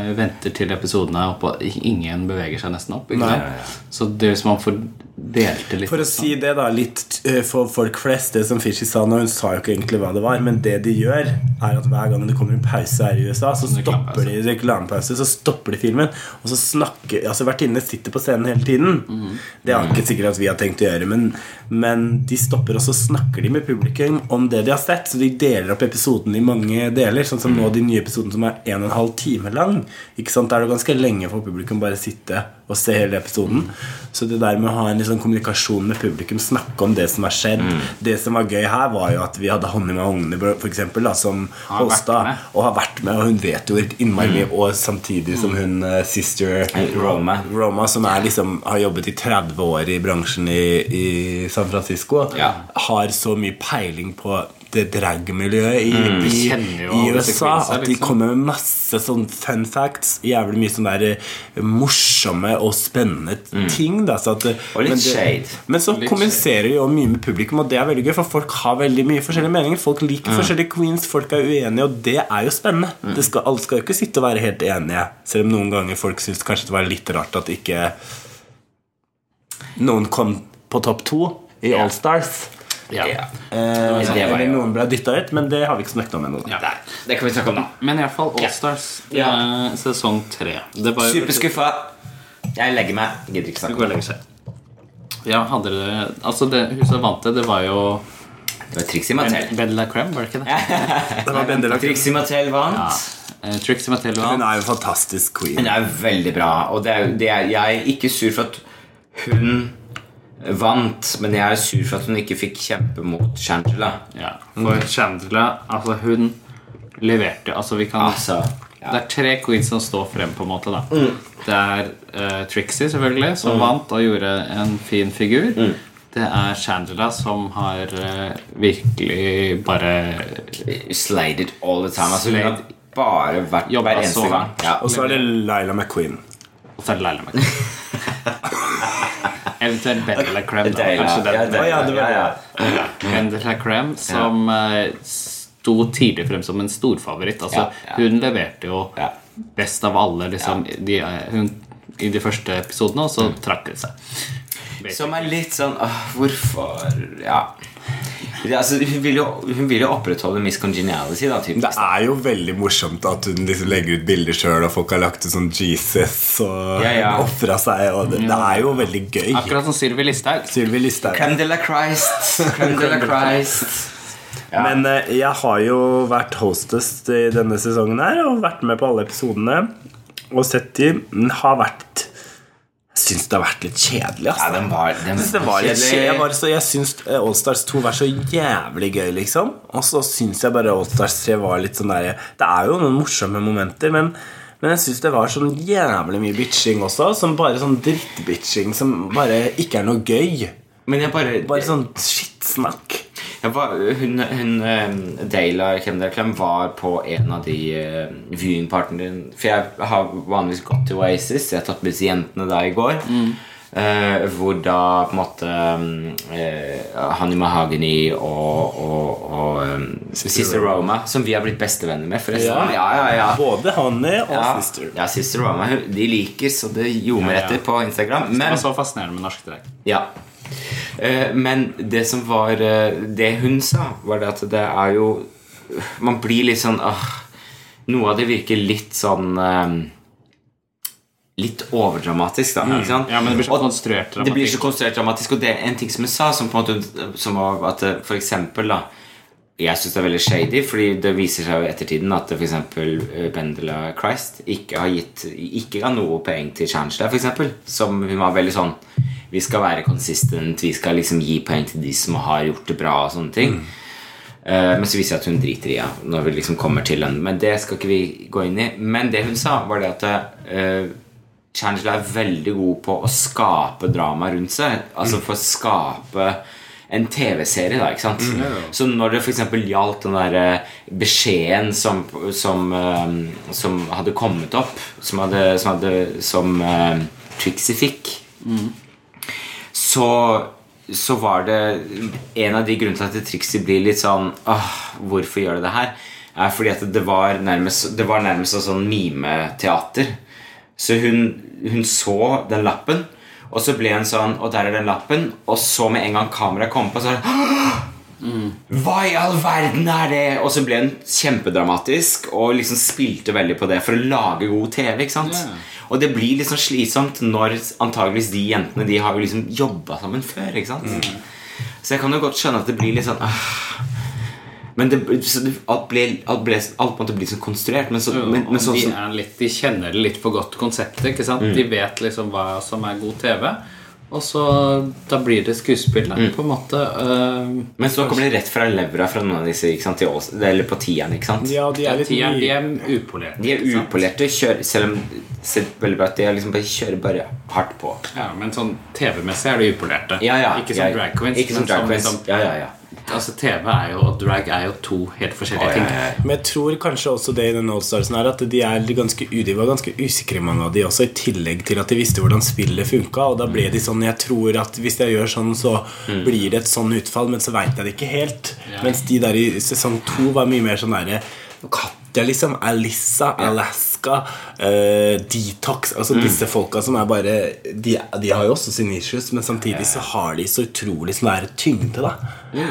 S1: eh, venter til episoden er oppe, og ingen beveger seg nesten opp. Ikke
S3: Nei.
S1: sant? Så det hvis man får delte litt
S3: For å si det da litt eh, for folk flest, det som Fishy sa nå, hun sa jo ikke egentlig hva det var, men det de gjør, er at hver gang det kommer en pause her i USA, så stopper de reklamepause, så stopper de filmen, og så snakker Altså vertinnene sitter på scenen hele tiden. Det er ikke sikkert at vi har tenkt å gjøre, men, men de stopper, og så snakker de med publikum om det de har sett, så de deler opp episoden i mange deler, sånn som nå de nye episoden som er en og en halv time lang. Ikke sant? Der er det ganske lenge for publikum bare sitte og se hele episoden. Så det der med å ha en litt sånn kommunikasjon med publikum, snakke om det som har skjedd
S1: Mm.
S3: Det som var gøy her, var jo at vi hadde Hanne med ungene, for eksempel, da, som
S1: Har vært
S3: hosta,
S1: med. Mm.
S3: og har vært med, og hun vet jo helt innmari mye, og samtidig som hun eh, sister
S2: Roma.
S3: Roma, som er liksom, har jobbet i 30 år i bransjen i, i San Francisco,
S2: Ja.
S3: har så mye peiling på det dragmiljøet i, i,
S1: Mm. kjenner jo
S3: i
S1: alle
S3: USA.
S1: sekvenser,
S3: At de
S1: liksom.
S3: kommer med masse sånn fun facts. Jævlig mye sånn der eh, morsomme og spennende ting. Da, så at, eh,
S2: Mm. Og litt
S3: men det-
S2: shade.
S3: Men så
S1: Litt
S3: kommuniserer jo mye med publikum, og det er veldig gøy. For folk har veldig mye forskjellige meninger. Folk
S2: Mm.
S3: liker forskjellige queens, folk er uenige, og det er jo spennende. Det skal, alle skal jo ikke sitte og være helt enige, selv om noen ganger folk syns kanskje det var litt rart at ikke noen kom på topp to i All Stars.
S1: Ja.
S2: Ja.
S3: Eh,
S2: Det var sånn.
S3: eller
S2: jo-
S3: noen ble dytta ut, men det har vi ikke snakket om ennå. da.
S1: Ja.
S2: Nei, det kan vi snakke om nå.
S1: Men i hvert fall Allstars
S2: Ja.
S1: ja. sesong tre. Det var jo-
S2: Superskuffa. Jeg legger meg. Jeg Gidder ikke
S1: Det
S2: snakke
S1: går
S2: om det.
S1: lenge siden. Ja, hadde dere Altså, det huset vant det, det var jo
S2: Det var Trixie Mattel.
S1: Bella Crem, var det ikke det?
S3: Det var Bendela
S2: Trixie Mattel
S1: Ja.
S2: vant.
S1: Eh, Trixie Mattello
S3: Hun
S1: vant.
S3: er jo en fantastisk queen.
S2: Hun er veldig bra, og det er, det er, jeg er ikke sur for at hun vant, men jeg er sur for at hun ikke fikk kjempe mot Shangela.
S1: Ja.
S3: Mm.
S1: For Chandela, altså, hun leverte Altså, vi
S3: Ah.
S1: kan
S2: Altså,
S1: Det
S2: ja.
S1: er tre queens som står frem, på en måte. da
S3: Mm.
S1: Det er eh, Trixie, selvfølgelig, som vant og gjorde en fin figur.
S3: Mm.
S1: Det er Chandela, som har eh, virkelig bare
S2: Sladed all the time. Altså, hun har
S1: Slayed.
S2: bare vært
S1: Jobba
S2: hver
S1: så
S2: eneste gang.
S1: hardt.
S2: Ja.
S3: Og så er det
S2: eh,
S3: Laila McQueen.
S1: Og så er det Leila McCrem. Eventuelt Bendela Crem. da.
S2: Deila.
S1: Kanskje
S2: Ja,
S1: den.
S2: Deila.
S3: Å, ja, det var-
S2: Ja, ja.
S1: Bendela Crem som eh, sto tidlig frem som en storfavoritt. Altså,
S2: Ja, ja.
S1: Hun leverte jo
S2: Ja.
S1: best av alle liksom, de, eh, hun, i de første episodene, og så
S2: Mm.
S1: trakk hun seg.
S2: Som er litt sånn åh, Hvorfor Ja. Det, altså, hun, vil jo, hun vil jo opprettholde Miss Congeniality, da. Typ.
S3: Det er jo veldig morsomt at hun liksom legger ut bilder sjøl, og folk har lagt ut sånn Jesus og
S2: Ja, ja.
S3: ofra seg. Og det, det er jo veldig gøy.
S1: Akkurat som Sylvi Listhaug.
S3: Sylvi Listhaug.
S2: Creme de la Christ. Creme de la Christ. Ja.
S3: Men eh, jeg har jo vært hostess i denne sesongen her, og vært med på alle episodene. Og sett de. Den har vært Jeg syns det har vært litt kjedelig, ass.
S2: Ja, den var, den,
S3: Jeg synes det var litt kjedelig. Jeg, bare, så jeg eh, syns Allstars 2 var så jævlig gøy, liksom. Og så syns jeg bare Allstars 3 var litt sånn derre Det er jo noen morsomme momenter, men, men jeg syns det var sånn jævlig mye bitching også. Som bare sånn drittbitching som bare ikke er noe gøy.
S2: Men jeg bare,
S3: Bare sånn skittsnakk.
S2: jeg var, Hun, hun eh, Dayla Kemderklem var på en av de eh, viewingpartnerne For jeg har vanligvis gått til Oasis. Jeg har tatt med disse jentene da i går.
S1: Mm.
S2: eh, hvor da på en måte ehm, uh, Hanni Mahagani og, og, og eh, Sister Roma, som vi har blitt bestevenner med, forresten. Ja, ja, ja.
S3: Både Honey og
S2: Ja,
S3: Sister.
S2: ja Sister Roma. hun- De liker så det ljomer
S1: Ja, ja.
S2: etter på Instagram.
S1: Det
S2: Men
S1: var så fascinerende med norsk drag.
S2: Ja. Eh, Men det som var eh, Det hun sa, var det at det er jo Man blir litt sånn ah, Noe av det virker litt sånn eh, Litt overdramatisk, da. Ikke sant?
S1: Mm. Ja, men det blir sånn så
S2: Og-
S1: konstruert
S2: det blir så
S1: dramatikk.
S2: konstruert dramatisk, og det er en ting som hun sa, som på en måte som var at eh, for eksempel da jeg syns det er veldig shady, fordi det viser seg jo i ettertiden at eh, f.eks. Bendela Christ ikke har gitt Ikke ga noe poeng til Chancellor, for eksempel Som hun var veldig sånn Vi skal være consistent, vi skal liksom gi poeng til de som har gjort det bra, og sånne ting. Eh, Men så viser det at hun driter i ja, når vi liksom kommer til den. Men det skal ikke vi gå inn i. Men det hun sa, var det at eh, Chancellor er veldig god på å skape drama rundt seg. Altså for å skape en TV-serie, da. ikke sant? Så når det f.eks. gjaldt den der eh, beskjeden som, som, eh, som hadde kommet opp, som, hadde, som, hadde, som eh, Trixie fikk så, så var det En av de grunnene til at det trikset blir litt sånn Åh, hvorfor gjør du det her? Er fordi at det var nærmest Det var nærmest en sånn mimeteater. Så hun, hun så den lappen, og så ble hun sånn Og der er den lappen. Og så med en gang kameraet kom på, så var det hva i all verden er det?! Og så ble hun kjempedramatisk og liksom spilte veldig på det for å lage god TV. ikke sant?
S1: Ja.
S2: Og det blir liksom slitsomt når antageligvis de jentene De har jo liksom jobba sammen før. ikke sant?
S1: Mm.
S2: Så jeg kan jo godt skjønne at det blir litt sånn «Åh». Men det, så det, alt, ble, alt, ble, alt måtte bli sånn konstruert. Men, så, men, men sånn
S1: de,
S2: som Mm.
S1: er litt, de kjenner det litt for godt konseptet. ikke sant? De vet liksom hva som er god TV. Og så da blir det skuespill, da,
S2: Mm.
S1: på en måte. øh,
S2: men så kommer det rett fra levra fra noen av disse ikke sant, til Ås, eller på tieren. ikke sant?
S3: Ja, de er litt
S1: Tieren, de
S3: nye.
S1: er upolerte.
S2: De er
S1: ikke sant?
S2: upolerte, kjører, selv om selv veldig bra at de er liksom bare kjører bare hardt på.
S1: Ja, Men sånn TV-messig er de upolerte.
S2: Ja, ja,
S1: Ikke som
S2: jeg-
S1: drag queens.
S2: Ikke som
S1: men
S2: drag queens.
S1: liksom-
S2: ja, ja, ja.
S1: altså, TV er jo, og drag er jo to helt forskjellige
S2: Å, ja,
S1: ting.
S2: ja, ja.
S3: Men jeg tror kanskje også det i den Allstarsen her at de, er ganske, u- de var ganske usikre, mange av de også, i tillegg til at de visste hvordan spillet funka. Og da ble de sånn Jeg tror at hvis jeg gjør sånn, så blir det et sånn utfall, men så veit jeg det ikke helt. Mens de der i sesong to var mye mer sånn derre Katja, liksom. Alissa, Alaska, eh, Detox Altså disse folka som er bare de, de har jo også sine issues, men samtidig så har de så utrolig sånn der tyngde, da.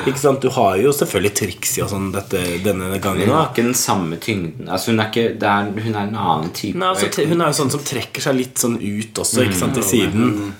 S3: Ikke sant? Du har jo selvfølgelig Trixie og sånn dette, denne gangen.
S2: Hun
S3: da
S2: har ikke den samme tyngden. Altså, hun, er ikke, det er, hun er en annen type.
S3: Nei, altså, te- hun er jo sånn som trekker seg litt sånn ut også, ikke sant, til
S1: Mm.
S3: siden.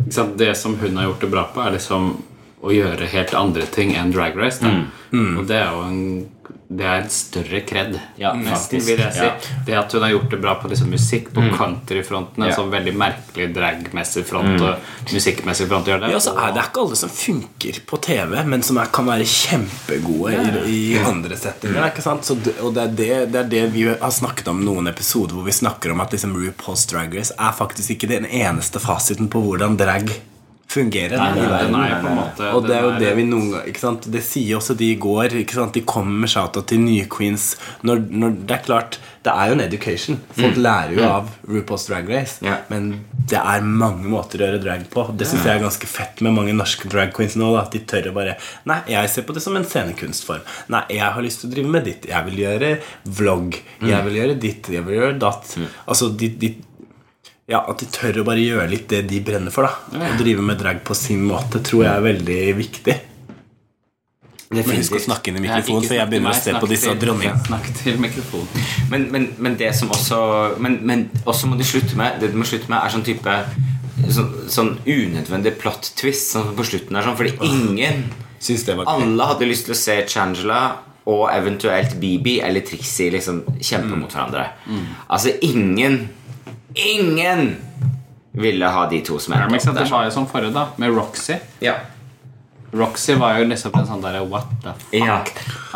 S1: Ikke sant? Det som hun har gjort det bra på, er liksom å gjøre helt andre ting enn Drag Race. Da. Og det er jo en, det er en større kred,
S2: Ja,
S1: nesten,
S2: faktisk.
S1: vil jeg si.
S2: Ja.
S1: Det at hun har gjort det bra på liksom, musikk, på countryfronten, en
S2: Ja.
S1: sånn veldig merkelig dragmessig front og musikkmessig front gjør det.
S3: Ja, så er det ikke alle som funker på TV, men som er, kan være kjempegode i, i andre settinger.
S1: Mm.
S3: Ikke sant? Så det, og det er det, det er det vi har snakket om i noen episoder, hvor vi snakker om at liksom RuPaul's Drag Race er faktisk ikke den eneste fasiten på hvordan drag fungerer.
S1: Nei,
S3: i
S1: nei,
S3: verden.
S1: den er jo på en måte
S3: Og det er jo
S1: den
S3: det vi noen ganger ikke sant? Det sier også de i går. Ikke sant? De kommer med shoutout til nye queens. Når, når, det er klart, det er jo en education. Folk lærer jo av RuPaul's Drag Race.
S2: Ja.
S3: Men det er mange måter å gjøre drag på. Det syns jeg er ganske fett med mange norske drag queens nå. Da, at de tør å bare Nei, jeg ser på det som en scenekunstform. Nei, jeg har lyst til å drive med ditt. Jeg vil gjøre vlogg. Jeg vil gjøre ditt. Jeg vil gjøre datt. Altså, de, de ja, At de tør å bare gjøre litt det de brenner for. da Å drive med drag på sin måte tror jeg er veldig viktig. Men husk å snakke inn i
S1: Nei,
S3: mikrofonen,
S1: ikke
S3: for jeg
S1: snakk
S3: begynner å
S1: til
S3: se
S1: meg,
S3: på
S1: snakk
S3: disse
S1: til-
S3: dronningene.
S1: Snakk til mikrofonen.
S2: men, men, men det som også Men, men også må de slutte med Det de må slutte med, er sånn type Sånn, sånn unødvendig plot twist sånn på slutten. Er sånn, fordi ingen
S3: Syns det var gøy.
S2: Alle hadde lyst til å se Changela og eventuelt Bibi eller Trixie Mm. liksom kjempe mot hverandre. Altså ingen Ingen ville ha de to som
S1: Ja, men
S2: endte
S1: ikke sant,
S2: opp
S1: Det
S2: der.
S1: var jo som forrige, da, med Roxy.
S2: Ja.
S1: Roxy var jo liksom en sånn derre what the fuck?
S2: Ja.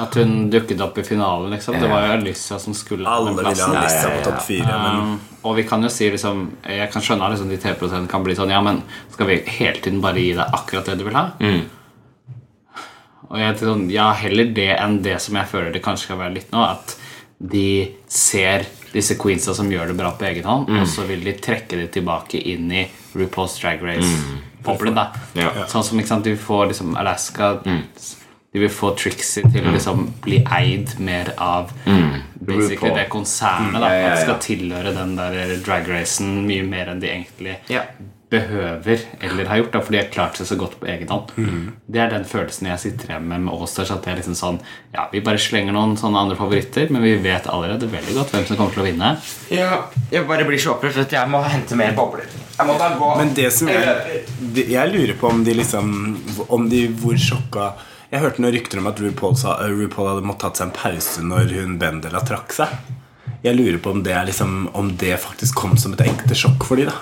S1: At hun dukket opp i finalen, liksom. Det
S2: Ja.
S1: var jo Alyssa som skulle ha
S3: Alle
S1: den
S3: ville
S1: plassen.
S3: ha Lissa
S2: ja,
S3: på
S2: ja.
S3: topp fire, men
S1: Um, og vi kan jo si liksom Jeg kan skjønne at liksom, de 3 kan bli sånn Ja, men skal vi hele tiden bare gi deg akkurat det du vil ha?
S2: Mm.
S1: Og jeg er sånn, ja, heller det enn det som jeg føler det kanskje skal være litt nå At de ser disse queensa som gjør det bra på egen hånd
S2: Mm.
S1: Og så vil de trekke det tilbake inn i RuPaul's Drag Race-boblen da
S2: Mm. Ja. Mm.
S1: Sånn som, ikke sant, du får liksom Alaska De vil få Trixie til å liksom bli eid mer av Basically
S2: Mm. RuPaul. Mm.
S1: det konsernet da
S2: Ja, ja, ja.
S1: At skal tilhøre den der drag racen mye mer enn de egentlig
S2: Ja.
S1: behøver eller har gjort, da, for de har klart seg så godt på egen hånd. Det er den følelsen jeg sitter igjen med med Allstars. At det er liksom sånn Ja, vi bare slenger noen sånne andre favoritter, men vi vet allerede veldig godt hvem som kommer til å vinne.
S2: ja. Jeg bare blir så opprørt, vet du. Jeg må hente mer bobler. Jeg må bare gå.
S3: Men det som jeg, det- jeg lurer på om de liksom Om de hvor sjokka Jeg hørte noen rykter om at RuPaul, sa, RuPaul hadde måttet tatt seg en pause når hun Bendela trakk seg. Jeg lurer på om det, er liksom, om det faktisk kom som et ekte sjokk for de da.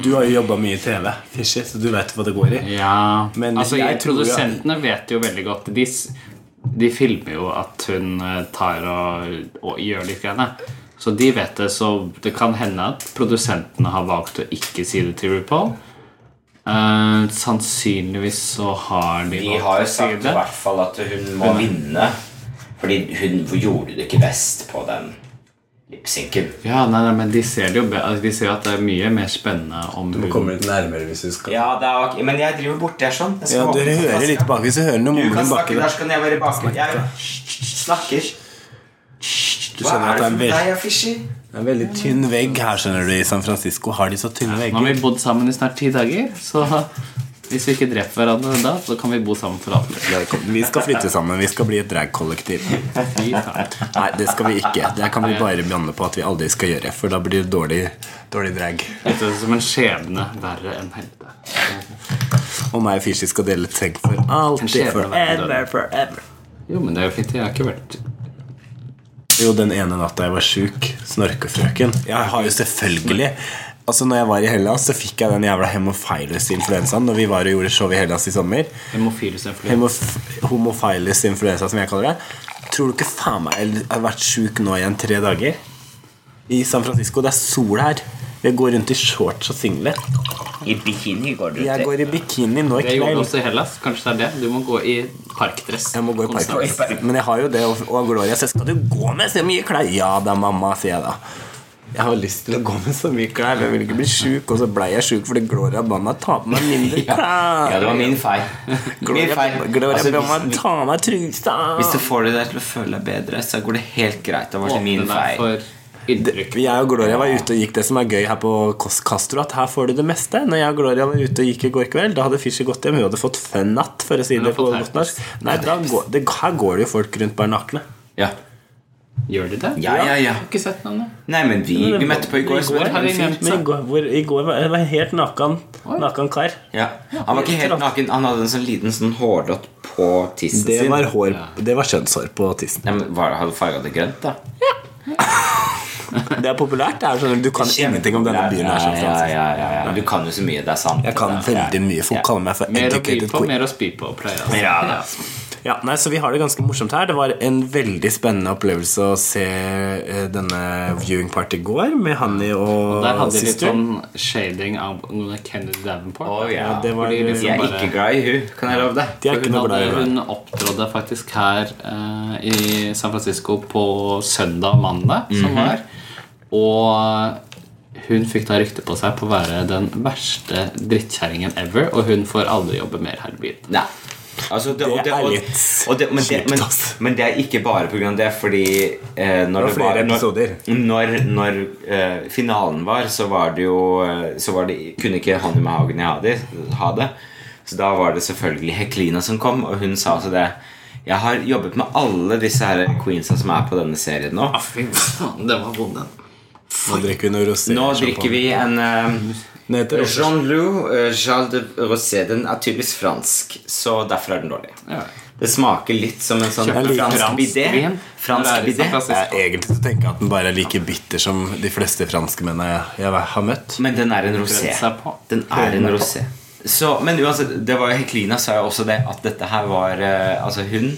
S3: Du har jo jobba mye i TV, Fischer, så du vet hva det går i.
S1: Ja,
S3: Men
S1: altså
S3: jeg tror jo-
S1: Produsentene vet jo veldig godt De, s- de filmer jo at hun eh, tar og, og gjør litt greiene. Så de vet det, så det kan hende at produsentene har valgt å ikke si det til RuPaul. Eh, sannsynligvis så har de
S2: Vi
S1: valgt
S2: har
S1: å
S2: jo
S1: si
S2: sagt i
S1: det.
S2: hvert fall at hun må vinne. Fordi hun gjorde det ikke best på den lipsynken.
S1: Ja, nei, nei, men de ser det jo be- altså, De ser jo at det er mye mer spennende om hun
S3: litt nærmere hvis du skal Ja,
S2: Ja, det er ok. Men jeg driver borti her sånn. Jeg skal åpne
S3: Dere
S2: flaska.
S3: hører litt bak hvis du hører noe
S2: Du kan
S3: mumling baki
S2: snakke,
S3: der.
S2: Lars, kan jeg være baki. Jeg snakker.
S3: Du skjønner at det er en,
S2: Nei,
S3: veld,
S2: jeg fischer.
S3: en veldig tynn vegg her, skjønner du. I San Francisco har de så tynne
S1: Nå har
S3: vegger.
S1: vi bodd sammen i snart ti dager, så hvis vi ikke dreper hverandre da, så kan vi bo sammen for alltid.
S3: Vi skal flytte sammen. Vi skal bli et dragkollektiv.
S1: Fy faen.
S3: Nei, det skal vi ikke. Det kan vi bare banne på at vi aldri skal gjøre. For da blir det dårlig, dårlig drag.
S1: Dette er som en skjebne verre enn helvete.
S3: Og meg og Fishy skal dele et seng for
S1: En
S3: alltid.
S1: skjebne verre
S3: Forever, forever.
S1: Jo, men det er jo fint. Jeg har ikke vært
S3: Jo, den ene natta jeg var sjuk, snorkefrøken. Jeg har jo selvfølgelig Altså, når jeg var i Hellas, så fikk jeg den jævla hemofilus-influensaen når vi var og gjorde show i Hellas i sommer.
S1: hemofilus influensa.
S3: Hemof homofilus influensa, som jeg kaller det. Tror du ikke faen meg jeg har vært sjuk nå igjen tre dager? I San Francisco. Det er sol her. Jeg går rundt i shorts og singlet.
S2: I bikini går du
S3: Jeg går i bikini nå i
S1: Det gjorde vi
S3: kveld.
S1: også i Hellas. Kanskje det er det. Du må gå i parkdress.
S3: Jeg må gå i
S1: Konstant.
S3: parkdress. Men jeg har jo det og, og Gloria sier 'Skal du gå med så mye klær?' Ja da, mamma, sier jeg da. Jeg har lyst til å gå med så mye klær, men jeg vil ikke bli sjuk. Og så blei jeg sjuk fordi Gloria ba meg ta på meg mindre klær.
S2: Ja, det var min feil. Min
S3: Gloria,
S2: feil.
S3: Gloria
S2: Altså,
S3: ba meg
S2: hvis,
S3: ta av meg trusa.
S2: hvis du får deg til å føle deg bedre, så går det helt greit. Det var
S1: Åpne
S2: ikke min
S1: deg
S2: feil.
S1: for inntrykk.
S3: Jeg og Gloria var ute og gikk det som er gøy her på Kos Castro, at her får du det meste. Når jeg og Gloria var ute og gikk i går kveld, da hadde Fischer gått hjem. Hun hadde fått fønatt, for å si
S1: Hun
S3: det
S1: har
S3: på
S1: fått
S3: godt norsk. Nei, da går, det, her går det jo folk rundt bare nakne.
S2: Ja.
S1: Gjør de det?
S2: Ja, ja, ja.
S1: Jeg har ikke sett noen. jeg.
S2: Nei, men vi, vi møtte på i går. så
S1: I går
S2: var det
S1: har
S2: en
S1: vi
S2: fyr.
S1: nevnt
S3: Men i går, hvor, i går var det var en helt naken, naken kar.
S2: Ja. Han var ikke helt naken. Han hadde en sånn liten sånn hårlott på tissen
S3: Det
S2: sin.
S3: var, hår, det var kjønnshår på tissen.
S2: Nei, men var, Hadde farga det grønt, da?
S3: Det er populært. Det er sånn, du kan ingenting om denne byen. her sånn
S2: ja,
S3: San
S2: ja,
S3: Francisco.
S2: ja, ja, ja. Du kan jo så mye. Det er sant.
S3: Jeg kan veldig mye. Folk kaller meg for
S1: Mer å by
S3: educated
S1: på,
S3: queen.
S1: mer å spy på, pleier jeg å si.
S2: Ja, da.
S3: Ja, nei, så Vi har det ganske morsomt her. Det var en veldig spennende opplevelse å se eh, denne viewing party i går med Hanni og,
S1: Der hadde de litt
S3: sister.
S1: sånn shading av Kennedy Davenport.
S2: Å, ja.
S3: det var-
S1: Fordi liksom
S2: Jeg er
S1: bare-
S2: ikke glad i hun, kan jeg love deg.
S3: De er ikke
S1: Hun,
S3: noe
S1: hadde,
S3: glad i henne.
S1: hun opptrådde faktisk her eh, i San Francisco på søndag og mandag, som var. Og hun fikk da rykte på seg på å være den verste drittkjerringen ever, og hun får aldri jobbe mer her i byen.
S2: Nei. Altså, det, og
S3: Det er
S2: og-
S3: litt
S2: og det, men, det,
S3: kjipt,
S2: men,
S3: ass.
S2: men det er ikke bare pga. det, fordi eh,
S3: Det
S2: når
S3: var flere episoder.
S2: Når, når eh, finalen var, så var det jo eh, Så var det, kunne ikke Hanni Mahagni ha det, ha det. Så da var det selvfølgelig Heklina som kom, og hun sa altså det Jeg har jobbet med alle disse her queensa som er på denne serien nå.
S1: Fy faen, den var vond, den.
S3: Nå drikker vi noe rosé.
S2: Nå drikker vi en eh,
S3: Den heter Rosé.
S2: Jean-Louis Charles de Rosé. Den er typisk fransk, så derfor er den dårlig.
S1: Ja.
S2: Det smaker litt som en sånn
S3: Kjøpte
S2: fransk
S1: fransk
S2: bidé.
S1: vin.
S2: Fransk
S1: Eller er det
S2: bidé.
S1: sarkastisk?
S3: Jeg er egentlig så tenker jeg at den bare er like bitter som de fleste franskmennene jeg, jeg har møtt.
S2: Men den er en
S1: Prøvd
S2: rosé.
S1: seg på.
S2: Den er en rosé. Så, men uansett, det var jo Heklina sa jo også det, at dette her var eh, Altså, hun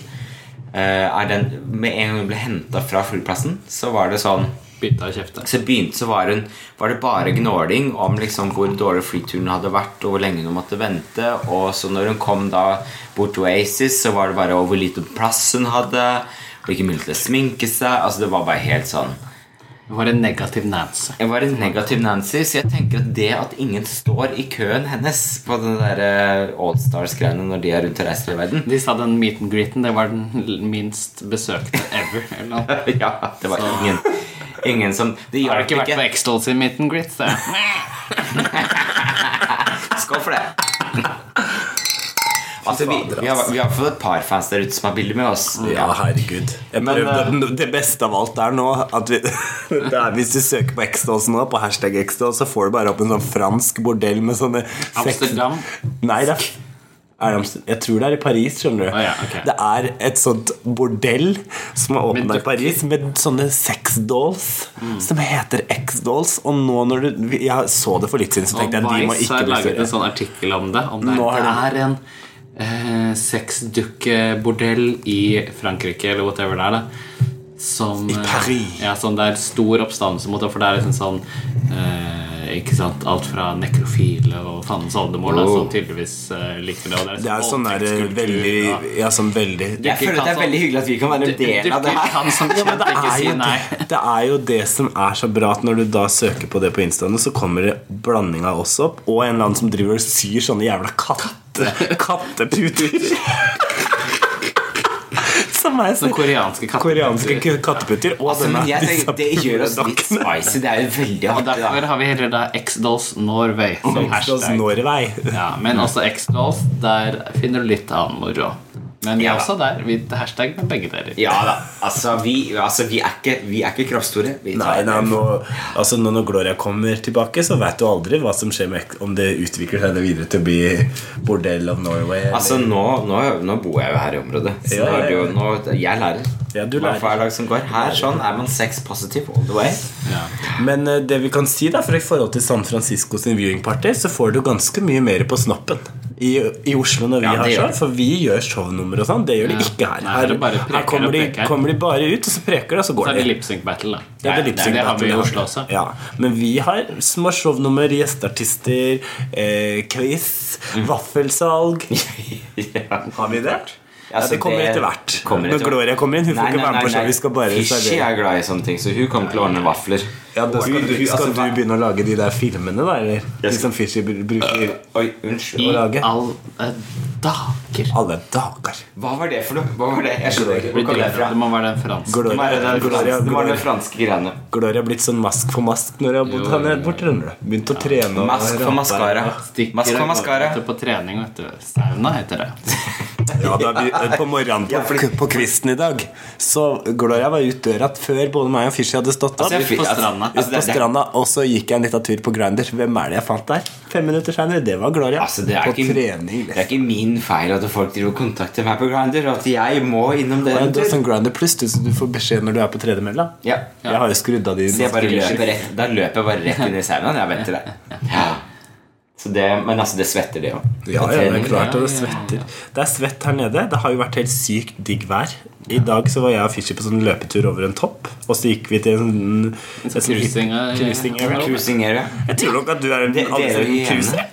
S2: eh, er den Med en gang hun ble henta fra flyplassen, så var det sånn
S1: Bytta i kjeftet.
S2: Så begynte så var, hun, var det
S1: Mm.
S2: bare gnåling om liksom hvor dårlig flyturen hadde vært, og hvor lenge hun måtte vente. Og så når hun kom da bort til Oasis, så var det bare over hvor liten plass hun hadde. Og ikke mulighet til å sminke seg. Altså Det var bare helt sånn
S1: Det var en negativ Nancy.
S2: Jeg var en negativ Nancy, så jeg tenker at det at ingen står i køen hennes på den der Allstars-greiene når de er rundt og reiser i verden
S1: De sa den meet and greeten, det var den l- minst besøkte ever. Eller noe.
S2: Ja, det var ingen, ingen som Det
S1: Har du
S2: hjalp
S1: ikke vært
S2: ikke.
S1: på Extol sin meet and greet? Det.
S2: Skål for det. Altså, vi, vi, har, vi har fått et par fans der ute som har bilder med oss.
S3: Ja, herregud. Jeg
S2: Men,
S1: eh,
S3: prøvde, det beste av alt er nå at vi, det er, Hvis du søker på Extals nå, på hashtag Extals, så får du bare opp en sånn fransk bordell med sånne seks-
S1: Amsterdam?
S3: Nei, det er, er det Amsterdam? Jeg tror det er i Paris, skjønner du.
S1: Å ja, ok.
S3: Det er et sånt bordell som er
S1: Med Mm.
S3: åpna i Paris, med sånne sexdolls som heter X-dolls. Og nå når du Jeg så det for litt siden, så
S1: Og
S3: tenkte jeg de må
S1: Vice
S3: ikke
S1: har
S3: bli
S1: laget en
S3: større.
S1: sånn artikkel om det. Om det,
S3: Nå
S1: er,
S3: har
S1: det er en eh, sexdukkebordell i Frankrike eller whatever det er. da som,
S3: I Paris.
S1: eh, Ja, som det er stor oppstandelse mot. da, For det er liksom sånn eh, Ikke sant, Alt fra nekrofile og fandens oldemor da, som tydeligvis eh, liker det. Og
S3: Det er sånn der eh, veldig Ja, sånn veldig
S2: Jeg føler at det er veldig hyggelig at vi kan være en del av det her.
S1: Kan som
S3: Ja, men
S1: kjent
S3: det,
S1: ikke
S3: er
S1: si
S3: jo
S1: nei.
S3: det, det er jo det som er så bra at når du da søker på det på Instaen, så kommer det blanding av oss opp, og en eller annen som driver og syr sånne jævla katte, katteputer. som er så
S1: Sånn koreanske
S3: koreanske
S1: katteputer.
S3: k- katteputer. Og liksom
S2: Altså, men jeg
S3: disse
S2: tenker, det gjør oss litt
S3: dokkene.
S2: spicy. Det er jo veldig
S1: Og
S2: artig,
S1: derfor
S2: da.
S1: har vi heller da X-Dolls Norway som
S3: Ekstras
S1: hashtag.
S3: Norway.
S1: Ja, men også X-Dolls, der finner du litt annen moro. Men vi
S2: Ja
S1: er
S2: da.
S1: også der. Vi hashtag med begge deler.
S2: Ja da. Altså, vi, altså, vi, er, ikke, vi er ikke kroppsstore. Vi
S3: Nei,
S2: tar
S3: nei,
S2: det.
S3: nå, altså nå når Gloria kommer tilbake, så vet du aldri hva som skjer med Om det utvikler seg videre til å bli Bordell of Norway. eller-
S2: Altså, nå, nå, nå bor jeg jo her i området. Så
S3: Ja,
S2: nå er det jo,
S3: ja.
S2: nå, jeg lærer.
S3: Ja, du lærer.
S2: Hver- Hver dag som går. Her sånn er man sex positive all the way.
S3: Men eh, det vi kan si da, for i forhold til San Francisco sin viewingparty, så får du ganske mye mer på snappen i, i Oslo når vi
S2: Ja, det
S3: har
S2: gjør
S3: show.
S2: det.
S3: For vi gjør shownummer og sånn. Det gjør de
S1: Ja.
S3: ikke her.
S1: Nei,
S3: Her,
S1: det bare preker
S3: her kommer,
S1: og
S3: de,
S1: preker.
S3: kommer de bare ut, og så preker de, og så
S1: Så
S3: går
S1: er det
S3: de.
S1: lip-sync battle, da.
S3: Ja, det er
S1: Nei,
S3: lip-sync
S1: det har vi i
S3: battle,
S1: Oslo også.
S3: Ja. Men vi har små shownummer, gjesteartister, eh, quiz,
S1: Mm.
S3: vaffelsalg.
S2: Ja.
S3: Har vi det? Ja,
S2: Altså,
S3: det kommer
S2: det
S3: etter hvert.
S2: kommer
S3: Når
S2: etter hvert.
S3: Gloria kommer inn, hun får ikke være med på show. Vi skal bare
S2: Fishy
S3: servere.
S2: er glad i sånne ting, så hun kommer til å ordne vafler.
S3: Ja, da skal,
S2: Hun-
S3: du,
S2: hun-
S3: skal
S2: altså,
S3: du begynne å lage de der filmene, da? Eller?
S2: Jeg skal-
S3: De som Fishy br- bruker
S2: Oi, unnskyld.
S1: I
S3: Å lage.
S1: all eh, dager.
S3: alle dager.
S2: Hva var det for noe? Hva var det? Jeg skjønner ikke. Hvor
S1: Det
S2: kom det fra?
S1: må være den franske.
S2: Det må være
S3: Gloria, Gloria,
S2: den franske- det må være den
S3: Gloria,
S2: franske greiene.
S3: Gloria er blitt sånn mask for mask når jeg har bodd
S1: Jo,
S3: her
S1: jo,
S3: nede borte. skjønner du. Begynt å trene. og
S2: Mask for
S3: rampe.
S2: maskara.
S1: Stikker
S2: Mask for
S1: og
S2: maskara.
S1: går ut På trening, vet du. Sauna heter det.
S3: Ja, da, vi, på morgenen på, på kvisten i dag Så Gloria var ute døra før både meg og Fishy hadde stått opp.
S2: jeg
S1: Ut på
S2: altså,
S1: stranda.
S2: altså,
S3: Ut på
S2: det- det-
S3: stranda, Og så gikk jeg en liten tur på Grindr. Hvem er det jeg fant der? Fem minutter seinere, det var Gloria.
S2: Altså, det, er
S3: på
S2: ikke,
S3: trening. liksom.
S2: det er ikke min feil at folk driver og kontakter meg på Grindr. og At jeg må innom det.
S3: Ja, Du har sånn Grindr pluss, du, så du får beskjed når du er på tredemølla.
S2: Ja.
S3: Jeg har jo skrudd av de
S2: Så jeg bare løper rett, da løper jeg bare rett inn i saunaen. Jeg venter der. Ja. Så det, men altså, det svetter, det òg.
S3: Ja, ja, det er klart
S1: Ja,
S3: og det
S1: ja, ja.
S3: svetter. Det er svett her nede. Det har jo vært helt sykt digg vær. I dag så var jeg og Fishy på sånn løpetur over en topp, og så gikk vi til en et sånt
S1: cruising,
S3: hytte-
S1: eh,
S3: cruising area.
S2: Cruising area.
S3: Jeg tror nok at du er en
S2: Det- det er
S3: alle
S2: jo
S3: sammen
S2: hyene.
S3: cruiser.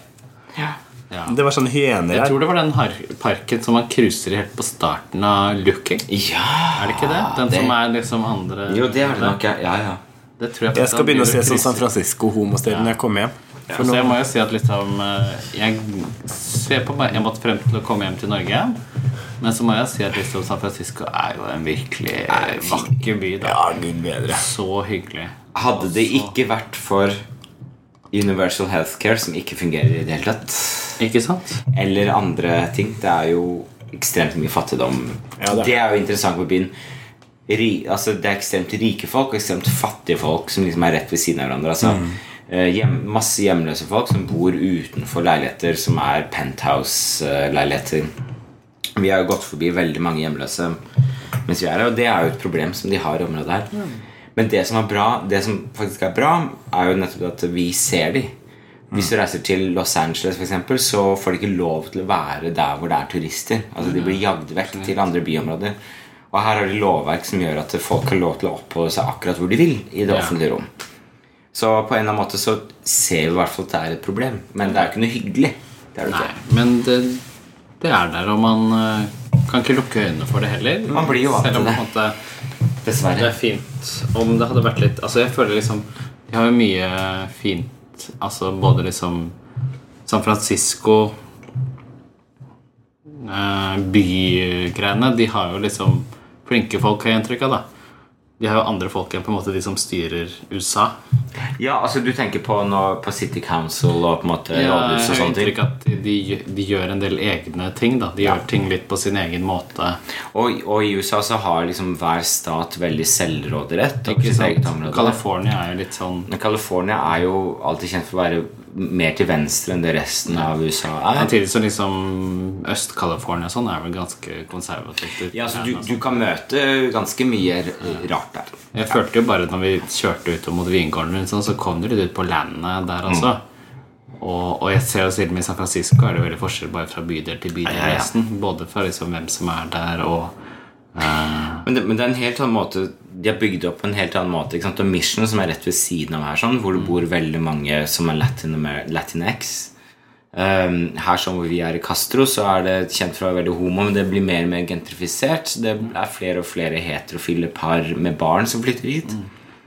S2: Ja.
S1: Ja.
S3: Det var sånne hyener
S1: Jeg
S3: her.
S1: tror det var den har parken som man cruiser i helt på starten av Looking.
S2: ja.
S1: Er det ikke det? Den
S2: det-
S1: som er liksom andre
S2: Jo, det er det nok. Ja, ja. ja.
S1: Det tror jeg,
S3: Jeg skal begynne å se sånn
S1: sånn
S3: San Francisco-homosted når jeg kommer hjem.
S1: Ja, så jeg må jo si at liksom eh, jeg, ser på meg, jeg måtte frem til å komme hjem til Norge. Men så må jeg si at liksom San Francisco er jo en virkelig eh, vakker by. da
S3: Ja, gud bedre.
S1: Så hyggelig.
S2: Hadde det
S3: Altså-
S2: ikke vært for Universal Healthcare, som ikke fungerer i det hele tatt
S1: Ikke sant?
S2: eller andre ting. Det er jo ekstremt mye fattigdom.
S3: Ja, det er.
S2: det. er jo interessant med byen. Ri, altså, det er ekstremt rike folk og ekstremt fattige folk som liksom er rett ved siden av hverandre. Altså,
S3: Mm.
S2: eh, hjem, masse hjemløse folk som bor utenfor eh, leiligheter som er penthouse-leiligheter. Vi har jo gått forbi veldig mange hjemløse mens vi er her, og det er jo et problem som de har i området her.
S1: Mm.
S2: Men det som, er bra, det som faktisk er bra, er jo nettopp at vi ser de. Hvis
S1: Mm.
S2: du reiser til Los Angeles, for eksempel, så får de ikke lov til å være der hvor det er turister. Altså De blir jagd
S1: Mm.
S2: vekk til andre byområder. Og her har de lovverk som gjør at folk har lov til å oppholde seg akkurat hvor de vil. i det
S1: Ja.
S2: offentlige rom. Så på en eller annen måte så ser vi i hvert fall at det er et problem. Men det er jo ikke noe hyggelig. Det er det
S1: Nei,
S2: ikke.
S1: men det, det er der, og man eh, kan ikke lukke øynene for det heller.
S2: Man blir jo vant
S1: Selv om
S2: til
S1: på en måte, det
S2: Dessverre.
S1: er fint om det hadde vært litt Altså, jeg føler liksom De har jo mye fint Altså, både liksom San Francisco eh, Bygreiene De har jo liksom flinke folk, har jeg inntrykk av, da. De har jo andre folk enn på en måte de som styrer USA.
S2: Ja, altså Du tenker på, nå, på City Council og på en måte
S1: Ja,
S2: rådhus og
S1: jeg har
S2: sånne ting.
S1: inntrykk at de, de gjør en del egne ting. da De gjør ting litt på sin egen måte.
S2: Og, og i USA så har liksom hver stat veldig selvråderett. over
S1: Ikke
S2: sitt eget
S1: sant?
S2: område.
S1: California er jo litt sånn
S2: Men California er jo alltid kjent for å være mer til venstre enn det resten av USA er.
S1: Samtidig som liksom Øst-California og sånn er vel ganske konservativt.
S2: Ja, så du, du kan møte ganske mye r- rart der.
S1: Jeg følte jo bare når vi kjørte ut mot vingården, og sånn, så kom du litt ut på landet der også. Og, og jeg ser jo selv om i San Francisco er det veldig forskjell bare fra bydel til bydel.
S2: Ja, ja, ja.
S1: nesten. Både fra liksom hvem som er der, og eh,
S2: Men det, men det er en helt annen måte De har bygd opp på en helt annen måte. Ikke sant? Og Mission, som er rett ved siden av her, sånn, hvor det bor veldig mange som er Latin Amer- latinx um, Her som hvor vi er i Castro, så er det kjent for å være veldig homo, men det blir mer og mer gentrifisert. Så det er flere og flere heterofile par med barn som flytter hit.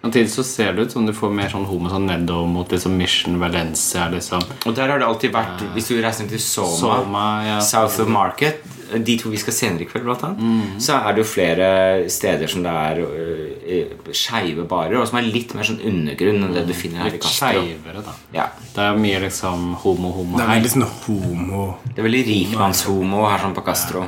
S1: Samtidig så ser det ut som du får mer sånn homo sånn nedover mot liksom Mission Valencia. liksom
S2: Og der har det alltid vært Hvis du reiser til Soma,
S1: Soma, ja.
S2: South of Market De to vi skal senere i kveld, blant annet
S3: Mm.
S2: Så er det jo flere steder som det er øh, skeive barer, og som er litt mer sånn undergrunn enn det du finner her i
S1: Litt
S2: Castro.
S1: skeivere, da.
S2: Ja.
S1: Det er mye liksom homo-homo
S3: Det er
S1: her.
S3: veldig sånn homo
S2: Det er veldig
S3: Mm.
S2: rikmannshomo her sånn på Castro.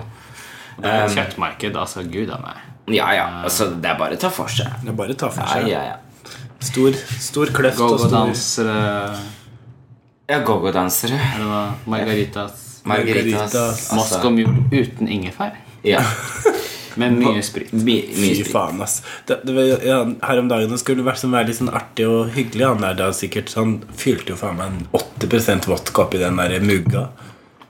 S1: Det er
S2: um,
S1: et Kjøttmarked, altså. Gud a meg.
S2: Ja, ja, altså Det er bare å ta for seg.
S3: Det er bare å ta for
S2: Ja,
S3: seg.
S2: ja, ja.
S3: Stor, stor kløft og stor
S1: Go-go-dansere
S2: Ja, Go-go-dansere.
S1: eller hva? Margaritas.
S2: Margaritas.
S3: Margaritas.
S1: Mosk og mjul uten ingefær.
S2: Ja.
S1: Men mye sprit.
S2: My, mye
S3: Fy
S2: sprit.
S3: faen, ass. Det, det, var- ja, her om dagen det skulle vært sånn, være litt sånn artig og hyggelig. Han der da sikkert så Han fylte jo faen meg en 80 vodka oppi den der mugga.